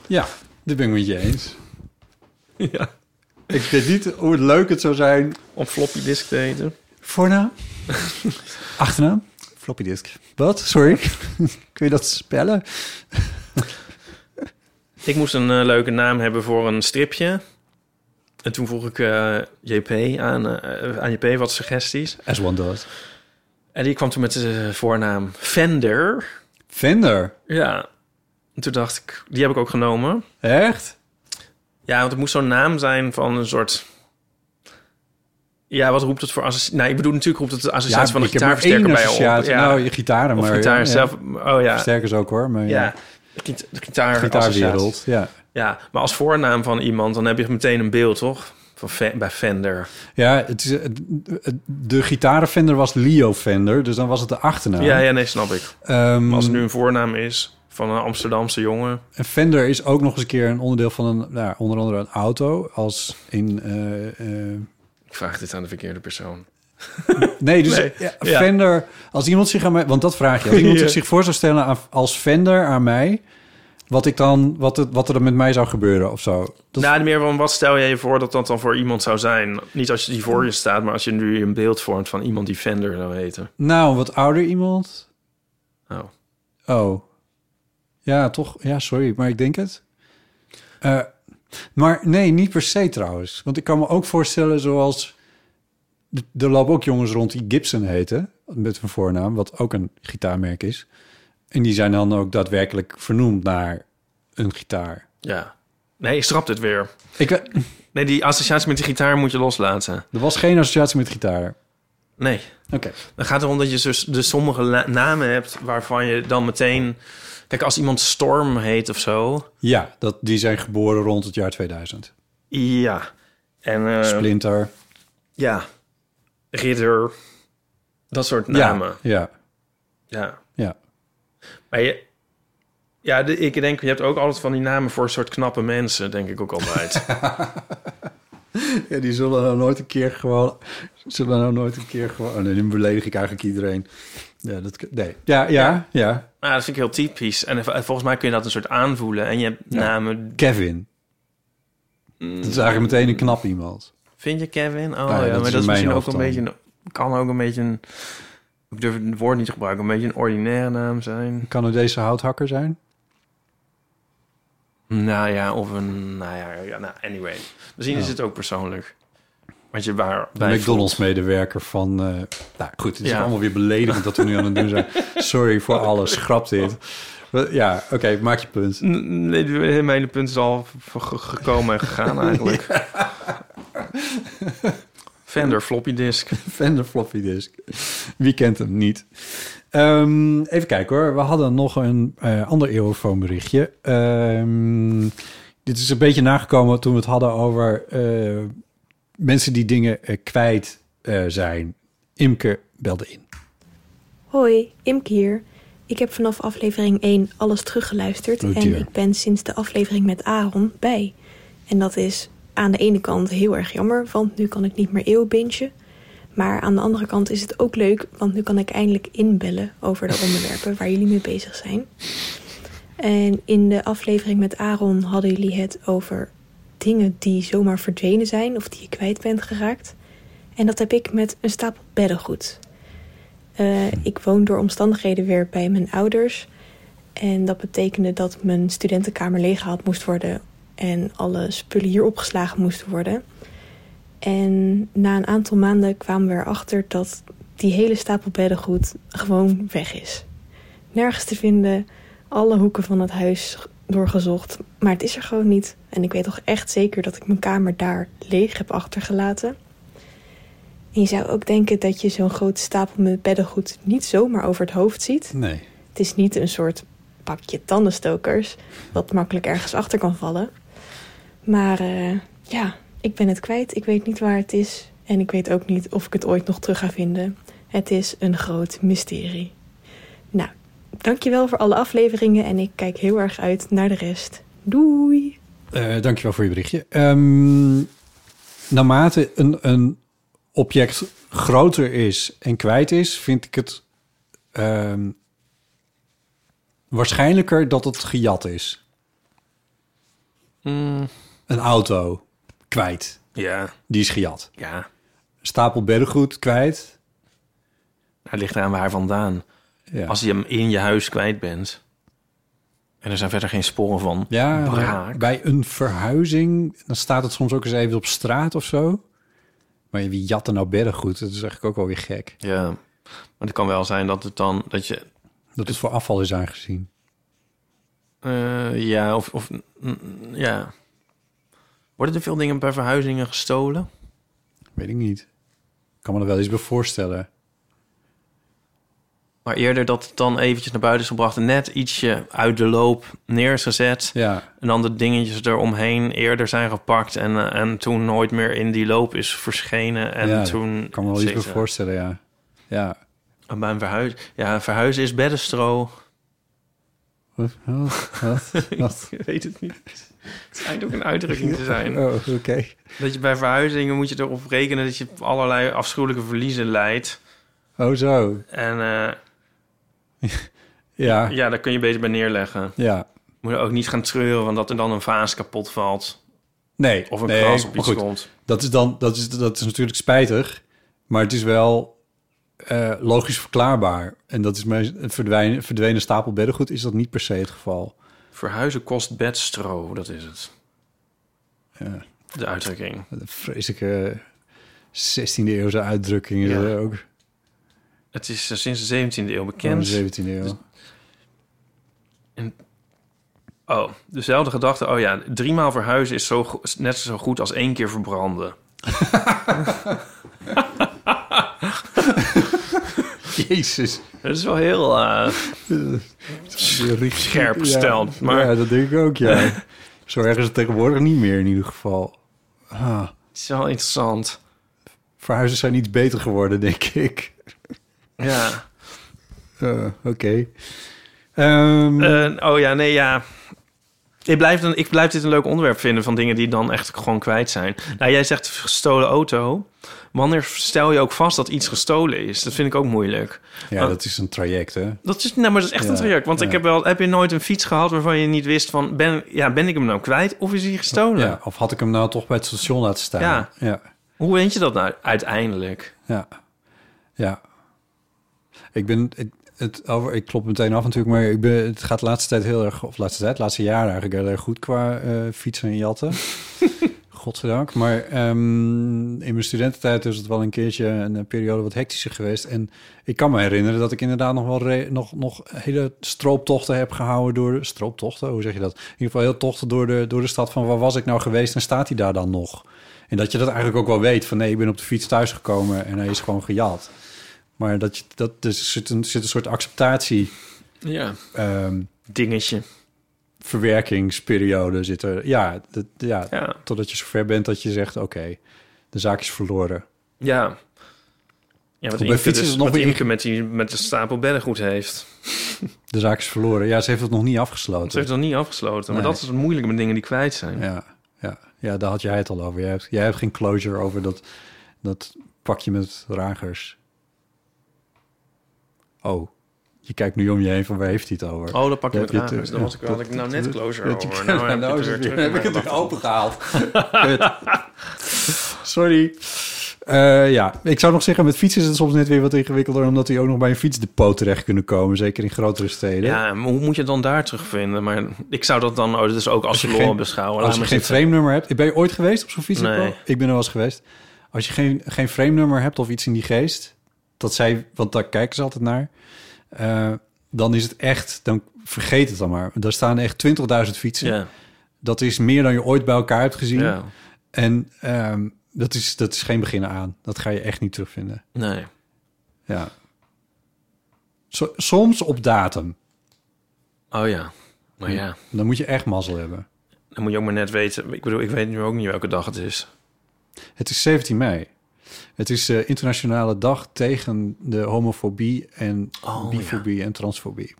B: ja, dat ben ik met je eens.
C: Ja.
B: Ik weet niet hoe leuk het zou zijn
C: Om floppy disk te heten.
B: [LAUGHS] Voornaam? Achternaam? Floppy disk. Wat? Sorry. [LAUGHS] Kun je dat spellen?
C: Ik moest een eh, leuke naam hebben voor een stripje. En toen vroeg ik eh, JP aan, eh, aan JP wat suggesties.
B: As one does.
C: En die kwam toen met de voornaam Fender.
B: Vender.
C: Ja. En toen dacht ik, die heb ik ook genomen.
B: Echt?
C: Ja, want het moest zo'n naam zijn van een soort... Ja, wat roept het voor associatie? Nou, ik bedoel, natuurlijk roept het de associatie van een
B: ik heb maar
C: gitaarversterker bij je op.
B: associatie.
C: Ja.
B: Nou, je gitaren
C: of
B: maar.
C: gitaar
B: ja.
C: zelf. Oh
B: Ja.
C: ja,
B: Versterkers ook hoor. Maar ja.
C: ja. Gita- De gitaar
B: Gitaarwereld.
C: associatie.
B: Ja.
C: Ja, maar als voornaam van iemand, dan heb je meteen een beeld, toch? Van Fe- bij Fender.
B: ja, het is, het- het- de gitarenvender was Leo Vender. Dus dan was het de achternaam.
C: Ja, ja, nee, snap ik.
B: Ehm,
C: Maar als het nu een voornaam is van een Amsterdamse jongen...
B: Een Fender is ook nog eens een keer een onderdeel van een, nou, onder andere een auto. Als in eh, eh,
C: Ik vraag dit aan de verkeerde persoon.
B: Nee, dus
C: Nee.
B: ja,
C: Ja.
B: Fender, als iemand zich aan mij, want dat vraag je, als iemand
C: [LAUGHS] Ja.
B: zich voor zou stellen aan- als Fender aan mij, wat ik dan, wat, het, wat er dan met mij zou gebeuren of zo. Dat,
C: Nou, meer van wat stel jij je voor dat dat dan voor iemand zou zijn? Niet als je die voor je staat, maar als je nu een beeld vormt van iemand die Fender zou heten.
B: nou, een wat ouder iemand.
C: Oh.
B: Oh, ja, toch? Ja, sorry, maar ik denk het. Eh, Maar nee, niet per se trouwens. Want ik kan me ook voorstellen zoals... d- Er lopen ook jongens rond die Gibson heten, met hun voornaam, wat ook een gitaarmerk is. En die zijn dan ook daadwerkelijk vernoemd naar een gitaar.
C: Ja. Nee, je strapt het weer.
B: Ik, we- [LAUGHS]
C: Nee, die associatie met de gitaar moet je loslaten.
B: er was geen associatie met gitaar.
C: Nee.
B: Oké.
C: Dan gaat het erom dat je dus de sommige la- namen hebt waarvan je dan meteen... Kijk, als iemand Storm heet of zo...
B: Ja, dat, die zijn geboren rond het jaar 2000.
C: Ja. En eh,
B: Splinter.
C: ja, Ridder, dat soort namen.
B: Ja, ja,
C: Ja.
B: ja.
C: Maar je, ja, de- ik denk, je hebt ook altijd van die namen voor een soort knappe mensen, denk ik ook
B: [LAUGHS]
C: altijd.
B: Ja, die zullen nou nooit een keer gewoon... Zullen nou nooit een keer gewoon... oh nee, nu beledig ik eigenlijk iedereen. Ja, dat, nee. ja, ja, ja.
C: maar Nou, dat vind ik heel typisch. En eh, volgens mij kun je dat een soort aanvoelen. En je hebt namen...
B: Kevin.
C: Mm.
B: Dat is eigenlijk meteen een knap iemand.
C: Vind je Kevin? Oh
B: ja, dat
C: ja,
B: is
C: maar
B: in
C: dat is
B: mijn
C: misschien ook
B: hoofd
C: een
B: dan.
C: beetje... een- Kan ook een beetje een... Ik durf het woord niet te gebruiken. Een beetje een ordinaire naam zijn.
B: Een Canadese houthakker zijn.
C: Nou ja, of een... Nou ja, ja nou, anyway. Misschien is het ook persoonlijk. Want je waar...
B: Een McDonald's-medewerker van... eh, nou goed, het is
C: Ja.
B: allemaal weer beledigend dat we nu aan het doen
C: [LAUGHS]
B: zijn. Sorry voor alles, schrap dit. Ja, oké, maak je punt.
C: N- Nee, de- mijn hele punt is al v- g- gekomen en [LAUGHS] gegaan eigenlijk. Fender floppy disk.
B: Fender floppy disk. Wie kent hem niet? Ehm, even kijken hoor. We hadden nog een eh, ander eeuwenfoon berichtje. Ehm, dit is een beetje nagekomen toen we het hadden over eh, mensen die dingen eh, kwijt eh, zijn. Imke belde in.
F: Hoi, Imke hier. Ik heb vanaf aflevering 1 alles teruggeluisterd.
B: Oh
F: en
B: dear.
F: ik ben sinds de aflevering met Aaron bij. En dat is aan de ene kant heel erg jammer, want nu kan ik niet meer eeuwbintje. Maar aan de andere kant is het ook leuk, want nu kan ik eindelijk inbellen over de onderwerpen waar jullie mee bezig zijn. En in de aflevering met Aaron hadden jullie het over dingen die zomaar verdwenen zijn of die je kwijt bent geraakt. En dat heb ik met een stapel beddengoed. Eh, ik woon door omstandigheden weer bij mijn ouders. En dat betekende dat mijn studentenkamer leeggehaald moest worden en alle spullen hier opgeslagen moesten worden. En na een aantal maanden kwamen we erachter dat die hele stapel beddengoed gewoon weg is. Nergens te vinden, alle hoeken van het huis doorgezocht, maar het is er gewoon niet. En ik weet toch echt zeker dat ik mijn kamer daar leeg heb achtergelaten. En je zou ook denken dat je zo'n grote stapel met beddengoed niet zomaar over het hoofd ziet.
B: Nee.
F: Het is niet een soort pakje tandenstokers dat makkelijk ergens achter kan vallen. Maar eh, ja, ik ben het kwijt. Ik weet niet waar het is. En ik weet ook niet of ik het ooit nog terug ga vinden. Het is een groot mysterie. Nou, dankjewel voor alle afleveringen en ik kijk heel erg uit naar de rest. Doei!
B: Eh, dankjewel voor je berichtje. Ehm, naarmate een, een object groter is en kwijt is, vind ik het ehm, waarschijnlijker dat het gejat is. Een auto kwijt,
C: Ja,
B: die is gejat.
C: ja.
B: Stapel beddengoed kwijt.
C: Hij ligt eraan waar vandaan.
B: Ja.
C: Als je hem in je huis kwijt bent. En er zijn verder geen sporen van.
B: ja,
C: braak.
B: bij een verhuizing, dan staat het soms ook eens even op straat of zo. Maar wie jatte nou beddengoed? Dat is eigenlijk ook wel weer gek.
C: Ja. Maar het kan wel zijn dat het dan. Dat je.
B: Dat het voor afval is aangezien.
C: eh, ja, of. of mm, ja. Worden er veel dingen bij verhuizingen gestolen?
B: Weet ik niet. Ik kan me er wel eens bij voorstellen.
C: Maar eerder dat het dan eventjes naar buiten is gebracht. en Net ietsje uit de loop neer is gezet.
B: Ja,
C: En dan de dingetjes eromheen eerder zijn gepakt en, eh, en toen nooit meer in die loop is verschenen. En
B: ja,
C: toen.
B: ik kan me wel iets bij
C: Zeker.
B: voorstellen, ja. Ja.
C: En Bij een verhuis. Ja, verhuizen is beddenstro.
B: Wat? Wat? Wat? Wat?
C: [LAUGHS] Ik weet het niet. Het schijnt ook een uitdrukking te
B: [LAUGHS]
C: zijn.
B: Oh, oké.
C: Dat je bij verhuizingen moet je erop rekenen dat je allerlei afschuwelijke verliezen leidt.
B: Oh, zo.
C: En eh,
B: Ja,
C: ja, daar kun je beter bij neerleggen.
B: ja.
C: Moet je ook niet gaan treuren, want dat er dan een vaas kapot valt.
B: Nee.
C: Of een
B: nee,
C: gras op
B: maar
C: iets
B: goed.
C: komt.
B: Dat is dan, dat is, dat is natuurlijk spijtig, maar het is wel eh, logisch verklaarbaar. En dat is mijn het verdwijnen, verdwenen stapel beddengoed is dat niet per se het geval.
C: Verhuizen kost bedstro, dat is het.
B: Ja,
C: De uitdrukking.
B: wat een vreselijke 16e eeuwse uitdrukking is
C: Ja.
B: dat ook.
C: Het is eh, sinds de 17e eeuw
B: Van
C: bekend.
B: de 17e
C: [LAUGHS]
B: eeuw.
C: Oh, dezelfde gedachte. Oh ja, driemaal verhuizen is zo, go- is net zo goed als één keer verbranden.
B: Jezus.
C: Dat is wel heel eh, [LAUGHS] scherp gesteld.
B: Ja,
C: maar
B: ja, dat denk ik ook,
C: [LAUGHS]
B: ja. Zo erg is het tegenwoordig niet meer in ieder geval. Ah,
C: het is wel interessant.
B: verhuizen zijn iets beter geworden, denk ik. [LAUGHS]
C: Ja.
B: Eh, Oké. Ehm,
C: Eh, oh ja, nee, ja. Ik blijf, dan, ik blijf dit een leuk onderwerp vinden van dingen die dan echt gewoon kwijt zijn. Nou, jij zegt gestolen auto. Wanneer stel je ook vast dat iets gestolen is? Dat vind ik ook moeilijk.
B: ja, dat is een traject, hè?
C: Dat is, nou, maar dat is echt
B: Ja,
C: een traject. Want
B: ja.
C: ik heb wel, heb je nooit een fiets gehad waarvan je niet wist van, ben, ja, ben ik hem nou kwijt of is hij gestolen?
B: Ja, of had ik hem nou toch bij het station laten staan?
C: Ja.
B: Ja,
C: Hoe weet je dat nou uiteindelijk?
B: ja. ja. Ik ben... Ik, het, over, ik klop meteen af natuurlijk, maar ik ben, het gaat de laatste tijd heel erg... Of laatste tijd, laatste jaren eigenlijk heel erg goed qua eh, fietsen en jatten. Godzijdank. Maar ehm, in mijn studententijd is het wel een keertje een eh, periode wat hectischer geweest. En ik kan me herinneren dat ik inderdaad nog wel re- nog, nog hele strooptochten heb gehouden door de strooptochten. Hoe zeg je dat? In ieder geval heel tochten door de, door de stad van waar was ik nou geweest en staat hij daar dan nog? En dat je dat eigenlijk ook wel weet van nee, ik ben op de fiets thuisgekomen en hij is gewoon gejat. Maar dat, je, dat dus er zit een, zit een soort acceptatie.
C: Ja.
B: ehm,
C: Dingetje.
B: verwerkingsperiode zit er. Ja, dat, ja,
C: Ja.
B: totdat je zover bent dat je zegt: oké, de zaak is verloren.
C: Ja. Ja, wat
B: bij
C: Inke,
B: fietsen
C: dus-
B: is het nog
C: wat
B: weer-
C: Inke met, die, met de stapel bedden goed heeft.
B: De zaak is verloren. Ja, ze heeft het nog niet afgesloten.
C: Ze heeft dat niet afgesloten. Maar
B: Nee.
C: dat is het moeilijke met dingen die kwijt zijn.
B: Ja, ja, ja, daar had jij het al over. Jij hebt, jij hebt geen closure over dat, dat pakje met ragers. Oh, je kijkt nu om je heen van waar heeft hij het over?
C: Oh, dat pak je
B: Daar
C: met
B: heb je het,
C: ramen. Dan
B: ja,
C: was ik, had ik nou net closure
B: dat- [LAUGHS]
C: over.
B: dat-
C: [LAUGHS] Nou heb
B: nou
C: je
B: is
C: het
B: het
C: weer
B: weer- heb [LAUGHS] ik
C: terug in
B: het
C: mijn
B: weer
C: [LAUGHS]
B: opengehaald. Kut. Sorry. Eh, ja, ik zou nog zeggen, met fietsen is het soms net weer wat ingewikkelder... omdat die ook nog bij een fietsdepot terecht kunnen komen. Zeker in grotere steden.
C: Ja, maar hoe moet je het dan daar terugvinden? Maar ik zou dat dan oh, dus ook als
B: je
C: verloren
B: geen-
C: beschouwen. Laat
B: Als je
C: maar
B: geen
C: zitten.
B: frame-nummer hebt... Ben je ooit geweest op zo'n fietsdepot?
C: Nee.
B: Ik ben er wel eens geweest. Als je geen, geen frame-nummer hebt of iets in die geest... Dat zij, want daar kijken ze altijd naar... eh, dan is het echt... Dan vergeet het dan maar. Daar staan echt 20.000 fietsen.
C: Ja,
B: Dat is meer dan je ooit bij elkaar hebt gezien.
C: ja.
B: En ehm, dat, is, dat is geen beginnen aan. Dat ga je echt niet terugvinden.
C: Nee.
B: Ja. So- soms op datum.
C: Oh ja. Maar ja,
B: Dan moet je echt mazzel hebben.
C: dan moet je ook maar net weten. Ik bedoel, ik weet nu ook niet welke dag het is.
B: Het is 17 mei. Het is eh internationale dag tegen de homofobie en
C: Oh,
B: bifobie en transfobie.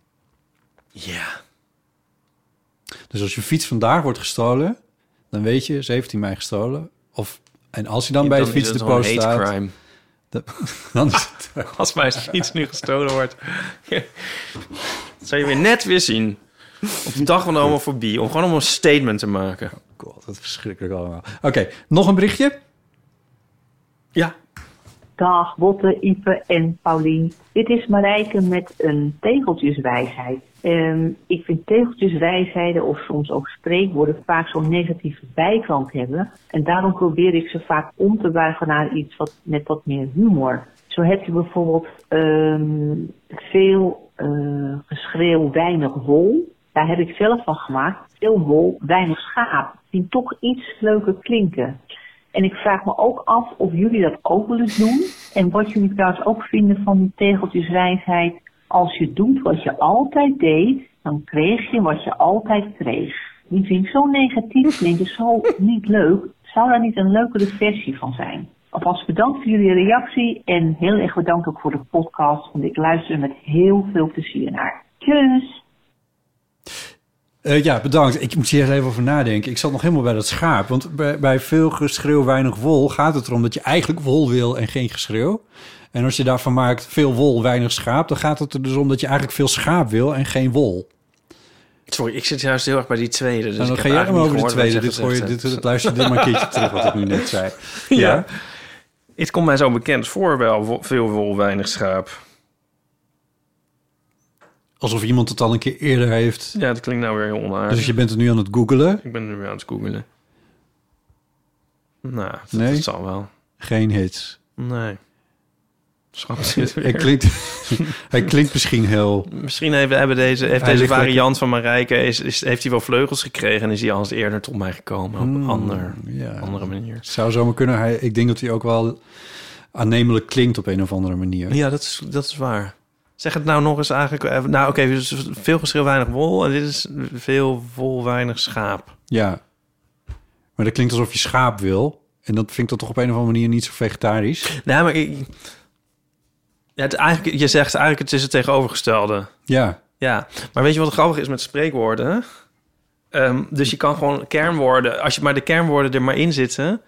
C: Ja.
B: Dus als je fiets vandaag wordt gestolen, dan weet je 17 mei gestolen. Of, en als je dan bij
C: Dan
B: het
C: is het gewoon
B: fietsdepot
C: hate
B: staat,
C: crime.
B: dan, [LAUGHS] dan is het oh,
C: Als mijn fiets nu gestolen wordt. [LAUGHS] Dat zou je weer net weer zien. Op de dag van de homofobie. Om gewoon om een statement te maken.
B: God, dat is verschrikkelijk allemaal. Oké, nog een berichtje?
C: Ja.
F: Dag Botte, Ipe en Paulien. Dit is Marijke met een tegeltjeswijsheid. Ehm, ik vind tegeltjeswijsheden of soms ook spreekwoorden vaak zo'n negatieve bijkant hebben. En daarom probeer ik ze vaak om te buigen naar iets wat met wat meer humor. Zo heb je bijvoorbeeld ehm, veel eh, geschreeuw, weinig wol. Daar heb ik zelf van gemaakt. Veel wol, weinig schaap. Die toch iets leuker klinken. En ik vraag me ook af of jullie dat ook willen doen. En wat jullie trouwens ook vinden van die tegeltjeswijsheid. Als je doet wat je altijd deed, dan kreeg je wat je altijd kreeg. Die vind ik zo negatief klinken, zo niet leuk. Zou daar niet een leukere versie van zijn? Alvast bedankt voor jullie reactie en heel erg bedankt ook voor de podcast. Want ik luister er met heel veel plezier naar. Kus!
B: Eh, ja, bedankt. Ik moet hier even over nadenken. Ik zat nog helemaal bij dat schaap. Want bij, bij veel geschreeuw, weinig wol gaat het erom dat je eigenlijk wol wil en geen geschreeuw. En als je daarvan maakt veel wol, weinig schaap, dan gaat het er dus om dat je eigenlijk veel schaap wil en geen wol.
C: Sorry, ik zit juist heel erg bij die tweede.
B: en
C: Dus
B: Nou, dan
C: ik
B: ga
C: heb
B: jij hem
C: eigenlijk
B: over de
C: niet
B: tweede.
C: gehoord
B: Dit,
C: wat jij
B: gooi je, dit,
C: gezegd hebt.
B: dit luister je dit maar een keertje terug, wat ik nu net zei. Ja.
C: [LAUGHS] Ja. Het komt mij zo bekend voor wel wo- veel wol, weinig schaap.
B: Alsof iemand het al een keer eerder heeft.
C: Ja, dat klinkt nou weer heel onaardig.
B: Dus je bent het nu aan het googelen.
C: Ik ben nu weer aan het googelen. Nou, dat,
B: Nee?
C: dat zal wel.
B: Geen hits.
C: Nee.
B: [LAUGHS]
C: Schat zit
B: Hij
C: weer.
B: klinkt, hij klinkt misschien heel...
C: Misschien hebben, hebben deze, heeft
B: Hij
C: deze
B: ligt
C: variant van Marijke... Is, is, heeft hij wel vleugels gekregen... en is hij al eens eerder tot mij gekomen op een
B: Hmm,
C: ander,
B: ja.
C: andere manier.
B: Zou zomaar kunnen. Hij, ik denk dat hij ook wel aannemelijk klinkt op een of andere manier.
C: Ja, dat is, dat is waar. Zeg het nou nog eens eigenlijk... eh, Nou, oké, dus veel geschil, weinig wol... en dit is veel wol, weinig schaap.
B: Ja. Maar dat klinkt alsof je schaap wil. En dat vind ik dan toch op een of andere manier niet zo vegetarisch.
C: Nee, maar ik... Ja, het, eigenlijk, je zegt eigenlijk het is het tegenovergestelde.
B: Ja.
C: Ja, maar weet je wat grappig is met spreekwoorden? Ehm, dus je kan gewoon kernwoorden... Als je maar de kernwoorden er maar in zitten...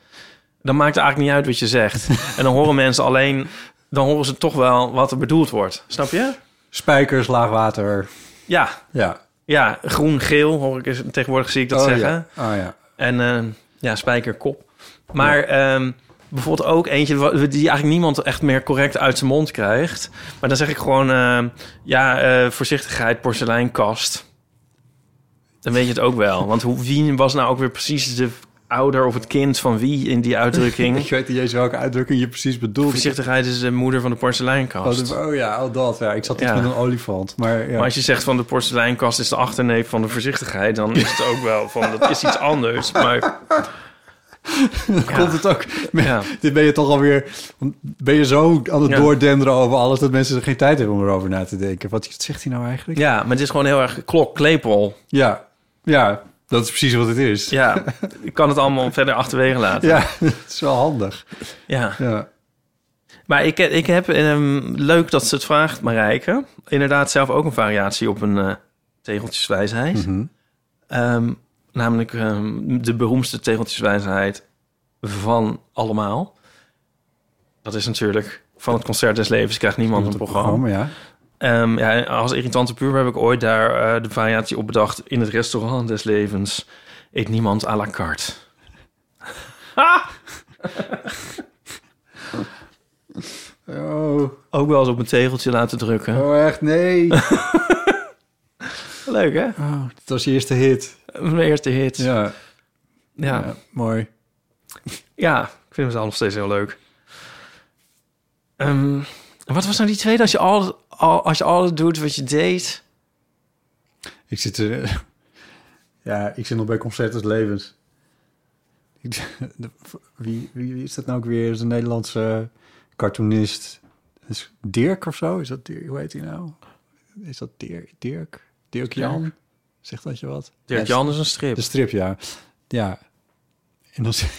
C: dan maakt het eigenlijk niet uit wat je
B: [LAUGHS]
C: zegt. en dan horen mensen alleen... dan horen ze toch wel wat er bedoeld wordt. Snap je?
B: Spijkers, laagwater.
C: Ja,
B: Ja.
C: ja groen, geel hoor ik eens- tegenwoordig zie ik dat
B: Oh,
C: zeggen.
B: ja. Oh, ja.
C: En ehm, ja, spijkerkop. Maar ehm, bijvoorbeeld ook eentje wa- die eigenlijk niemand echt meer correct uit zijn mond krijgt. Maar dan zeg ik gewoon, ehm, ja, eh, voorzichtigheid, porseleinkast. Dan weet je het ook wel. Want hoe, wie was nou ook weer precies de ouder of het kind van wie in die
B: [LAUGHS] Ik
C: uitdrukking?
B: weet niet eens welke uitdrukking je precies bedoelt.
C: Voorzichtigheid is de moeder van de
B: Oh,
C: porseleinkast.
B: de- oh ja, al dat. Ja. Ik zat iets
C: Ja.
B: met een olifant. Maar, ja.
C: Maar als je zegt van de porseleinkast is de achterneef van de voorzichtigheid, dan is het ook wel van dat is iets anders. Maar ja.
B: [LAUGHS] komt het ook.
C: Ja.
B: [LAUGHS] Dit ben je toch alweer. Ben je zo aan het
C: Ja.
B: doordenderen over alles dat mensen er geen tijd hebben om erover na te denken. Wat zegt hij nou eigenlijk?
C: ja, maar het is gewoon heel erg klok, klepel.
B: Ja, ja, dat is precies wat het is. Ja,
C: Ja, ik kan het allemaal verder achterwege
B: [LAUGHS]
C: laten. Ja.
B: het is wel handig. Ja.
C: Maar ik, ik heb... ehm, leuk dat ze het vraagt, Marijke. Inderdaad zelf ook een variatie op een eh tegeltjeswijsheid.
B: Hm. Mhm.
C: Ehm, namelijk ehm, de beroemdste tegeltjeswijsheid van allemaal. Dat is natuurlijk... Van het Concert des Levens krijgt niemand een programma.
B: Oh, ja.
C: Ehm, ja, als irritante puur heb ik ooit daar eh, de variatie op bedacht. In het restaurant des levens eet niemand à la carte. Ah!
B: Oh,
C: Ook wel eens op een tegeltje laten drukken.
B: oh echt? [LAUGHS] Nee.
C: Leuk, hè?
B: Oh, dat was je eerste hit.
C: Mijn eerste hit. Ja.
B: Ja,
C: Ja.
B: ja, mooi.
C: ik vind het al nog steeds heel leuk. Ehm, wat was nou die tweede? Als je alles, al, als je alles doet wat je deed...
B: Ik zit, eh, [LAUGHS] ja, ik zit nog bij Concert des Levens. Ik- [LAUGHS] de- Wie, wie, wie is dat nou ook weer? Dat is een Nederlandse cartoonist. Dat Is Dirk of zo? Is dat Dirk? Hoe heet hij nou? Is dat Dirk? Dirk, Dirk Jan? Zegt dat je wat? Ja,
C: Dirk Jan is een strip.
B: De strip, ja. Ja. En dan [LAUGHS] zie-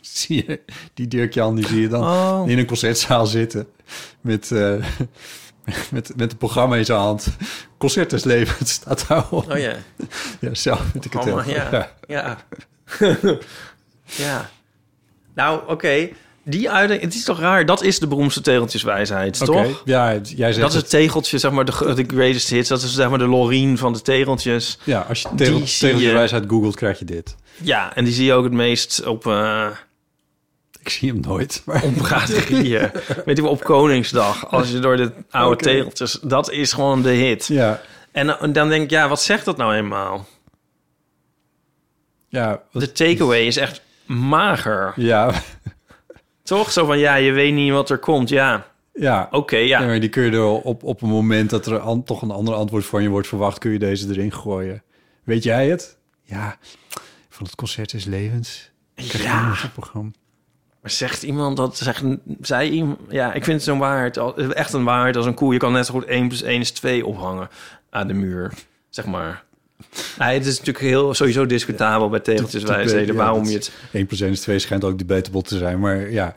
B: zie je die Dirk Jan, die zie je dan
C: Oh.
B: in een concertzaal zitten. Met, eh, met, met een programma in zijn hand. Concert des levens staat daarop.
C: Oh ja.
B: Ja, zelf vind ik het heel
C: Allemaal,
B: goed.
C: ja.
B: [LAUGHS]
C: Ja. ja. Nou, oké. Die uiting, het is toch raar? Dat is de beroemdste tegeltjeswijsheid,
B: Oké,
C: toch?
B: Ja, het- jij zegt
C: Dat is
B: het.
C: het tegeltje, zeg maar, de, gr- de greatest hits. Dat is zeg maar de Lorien van de tegeltjes.
B: Ja, als je tegel,
C: Die zie je.
B: tegeltjeswijsheid googelt, krijg je dit.
C: Ja, en die zie je ook het meest op eh
B: Ik zie hem nooit. Maar
C: [LAUGHS] op braderieën. Weet je wel, op Koningsdag. Als je door de oude tegeltjes... Dat is gewoon de hit.
B: ja,
C: En dan- dan denk ik, ja, wat zegt dat nou eenmaal?
B: ja, wat-
C: De takeaway is echt mager.
B: ja,
C: Toch? Zo van, ja, je weet niet wat er komt. Ja,
B: ja.
C: oké, ja.
B: Nee, maar die kun je er op, op een moment dat er an- toch een ander antwoord van je wordt verwacht, kun je deze erin gooien. Weet jij het? Ja, van het concert is levens. Ik krijg
C: Ja.
B: een muziekprogramma.
C: Maar zegt iemand dat? Zegt, zei iemand, ja, ik vind het zo'n waarheid, al- echt een waarheid als een koe. Je kan net zo goed 1 plus 1 is 2 ophangen aan de muur, zeg maar. Ja, het is natuurlijk heel, sowieso discutabel bij
B: Ja,
C: tegeltjeswijsheden Dus waarom
B: dat-
C: je het...
B: 1 plus 1 is 2 schijnt ook debatable te zijn, maar ja.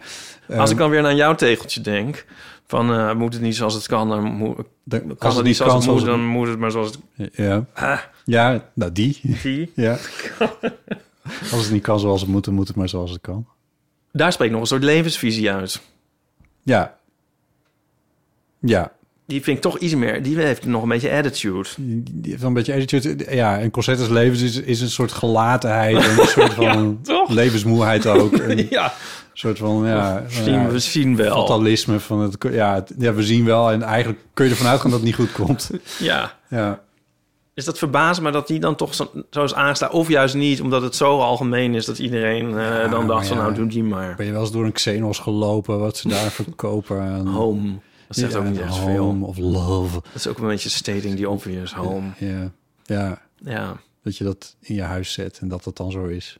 C: Als
B: Ehm,
C: ik dan weer naar jouw tegeltje denk, van eh, moet het niet zoals het kan, dan moet,
B: dan-
C: kan het niet zoals
B: kan,
C: het moet,
B: zoals
C: dan moet het maar zoals het...
B: het- Ja,
C: Ah,
B: ja, nou die. [LAUGHS]
C: zie. [LAUGHS]
B: Ja. Als het niet kan zoals het moet, dan moet het maar zoals het kan.
C: Daar spreekt nog een soort levensvisie uit.
B: Ja. Ja.
C: Die vind ik toch iets meer, die heeft nog een beetje attitude.
B: Die die heeft wel een beetje attitude. Ja, en Corset als levens is, is een soort gelatenheid. En een
C: [LAUGHS]
B: soort van
C: toch?
B: levensmoeheid
C: [LAUGHS]
B: ook. Een
C: Ja,
B: soort van, ja... nou
C: zien,
B: ja,
C: we zien wel.
B: Fatalisme van het...
C: [LAUGHS]
B: Ja, het- ja, we zien wel. En eigenlijk kun je ervan uitgaan dat het niet goed komt.
C: Ja.
B: Ja.
C: Is dat verbaasd, maar dat die dan toch zo, zo is aanstaan? Of juist niet, omdat het zo algemeen is dat iedereen eh, dan dacht van... nou, doe die maar.
B: Ben je wel eens door een Xenos gelopen, wat ze daar verkopen?
C: Home. Dat zegt ook niet echt veel.
B: Home of love.
C: Dat is ook een beetje stating die obvious home.
B: Ja, ja.
C: Ja.
B: Dat je dat in je huis zet en dat dat dan zo is.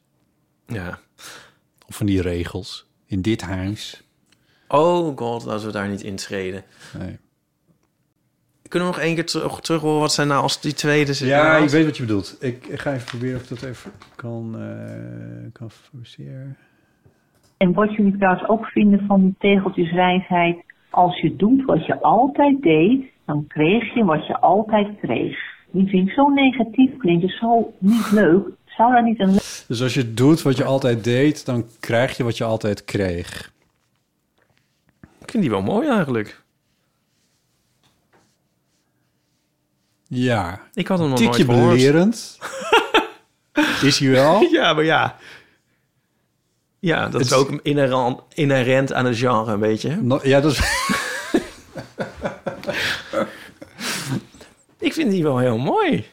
C: Ja.
B: Of van die regels. In dit huis.
C: Oh god, laten we daar niet intreden.
B: Nee.
C: Kunnen we nog één keer terug, terug horen wat zijn nou als die tweede zit?
B: Ja, ik weet wat je bedoelt. Ik ga even proberen of ik dat even kan, eh kan forceren.
G: En wat jullie trouwens ook vinden van die tegeltjeswijsheid, als je doet wat je altijd deed, dan kreeg je wat je altijd kreeg. Die vind ik zo negatief klinken, zo niet leuk. Zou daar niet een le-
B: Dus als je doet wat je altijd deed, dan krijg je wat je altijd kreeg.
C: Ik vind die wel mooi eigenlijk.
B: Ja.
C: Ik had hem nog
B: Tikje
C: nooit gehoord.
B: belerend. [LAUGHS] is hij wel?
C: [LAUGHS] Ja, maar ja. Ja, dat
B: Het-
C: is ook inherent, inherent aan het genre, een beetje.
B: No- ja, dat is...
C: Ik vind die wel heel mooi.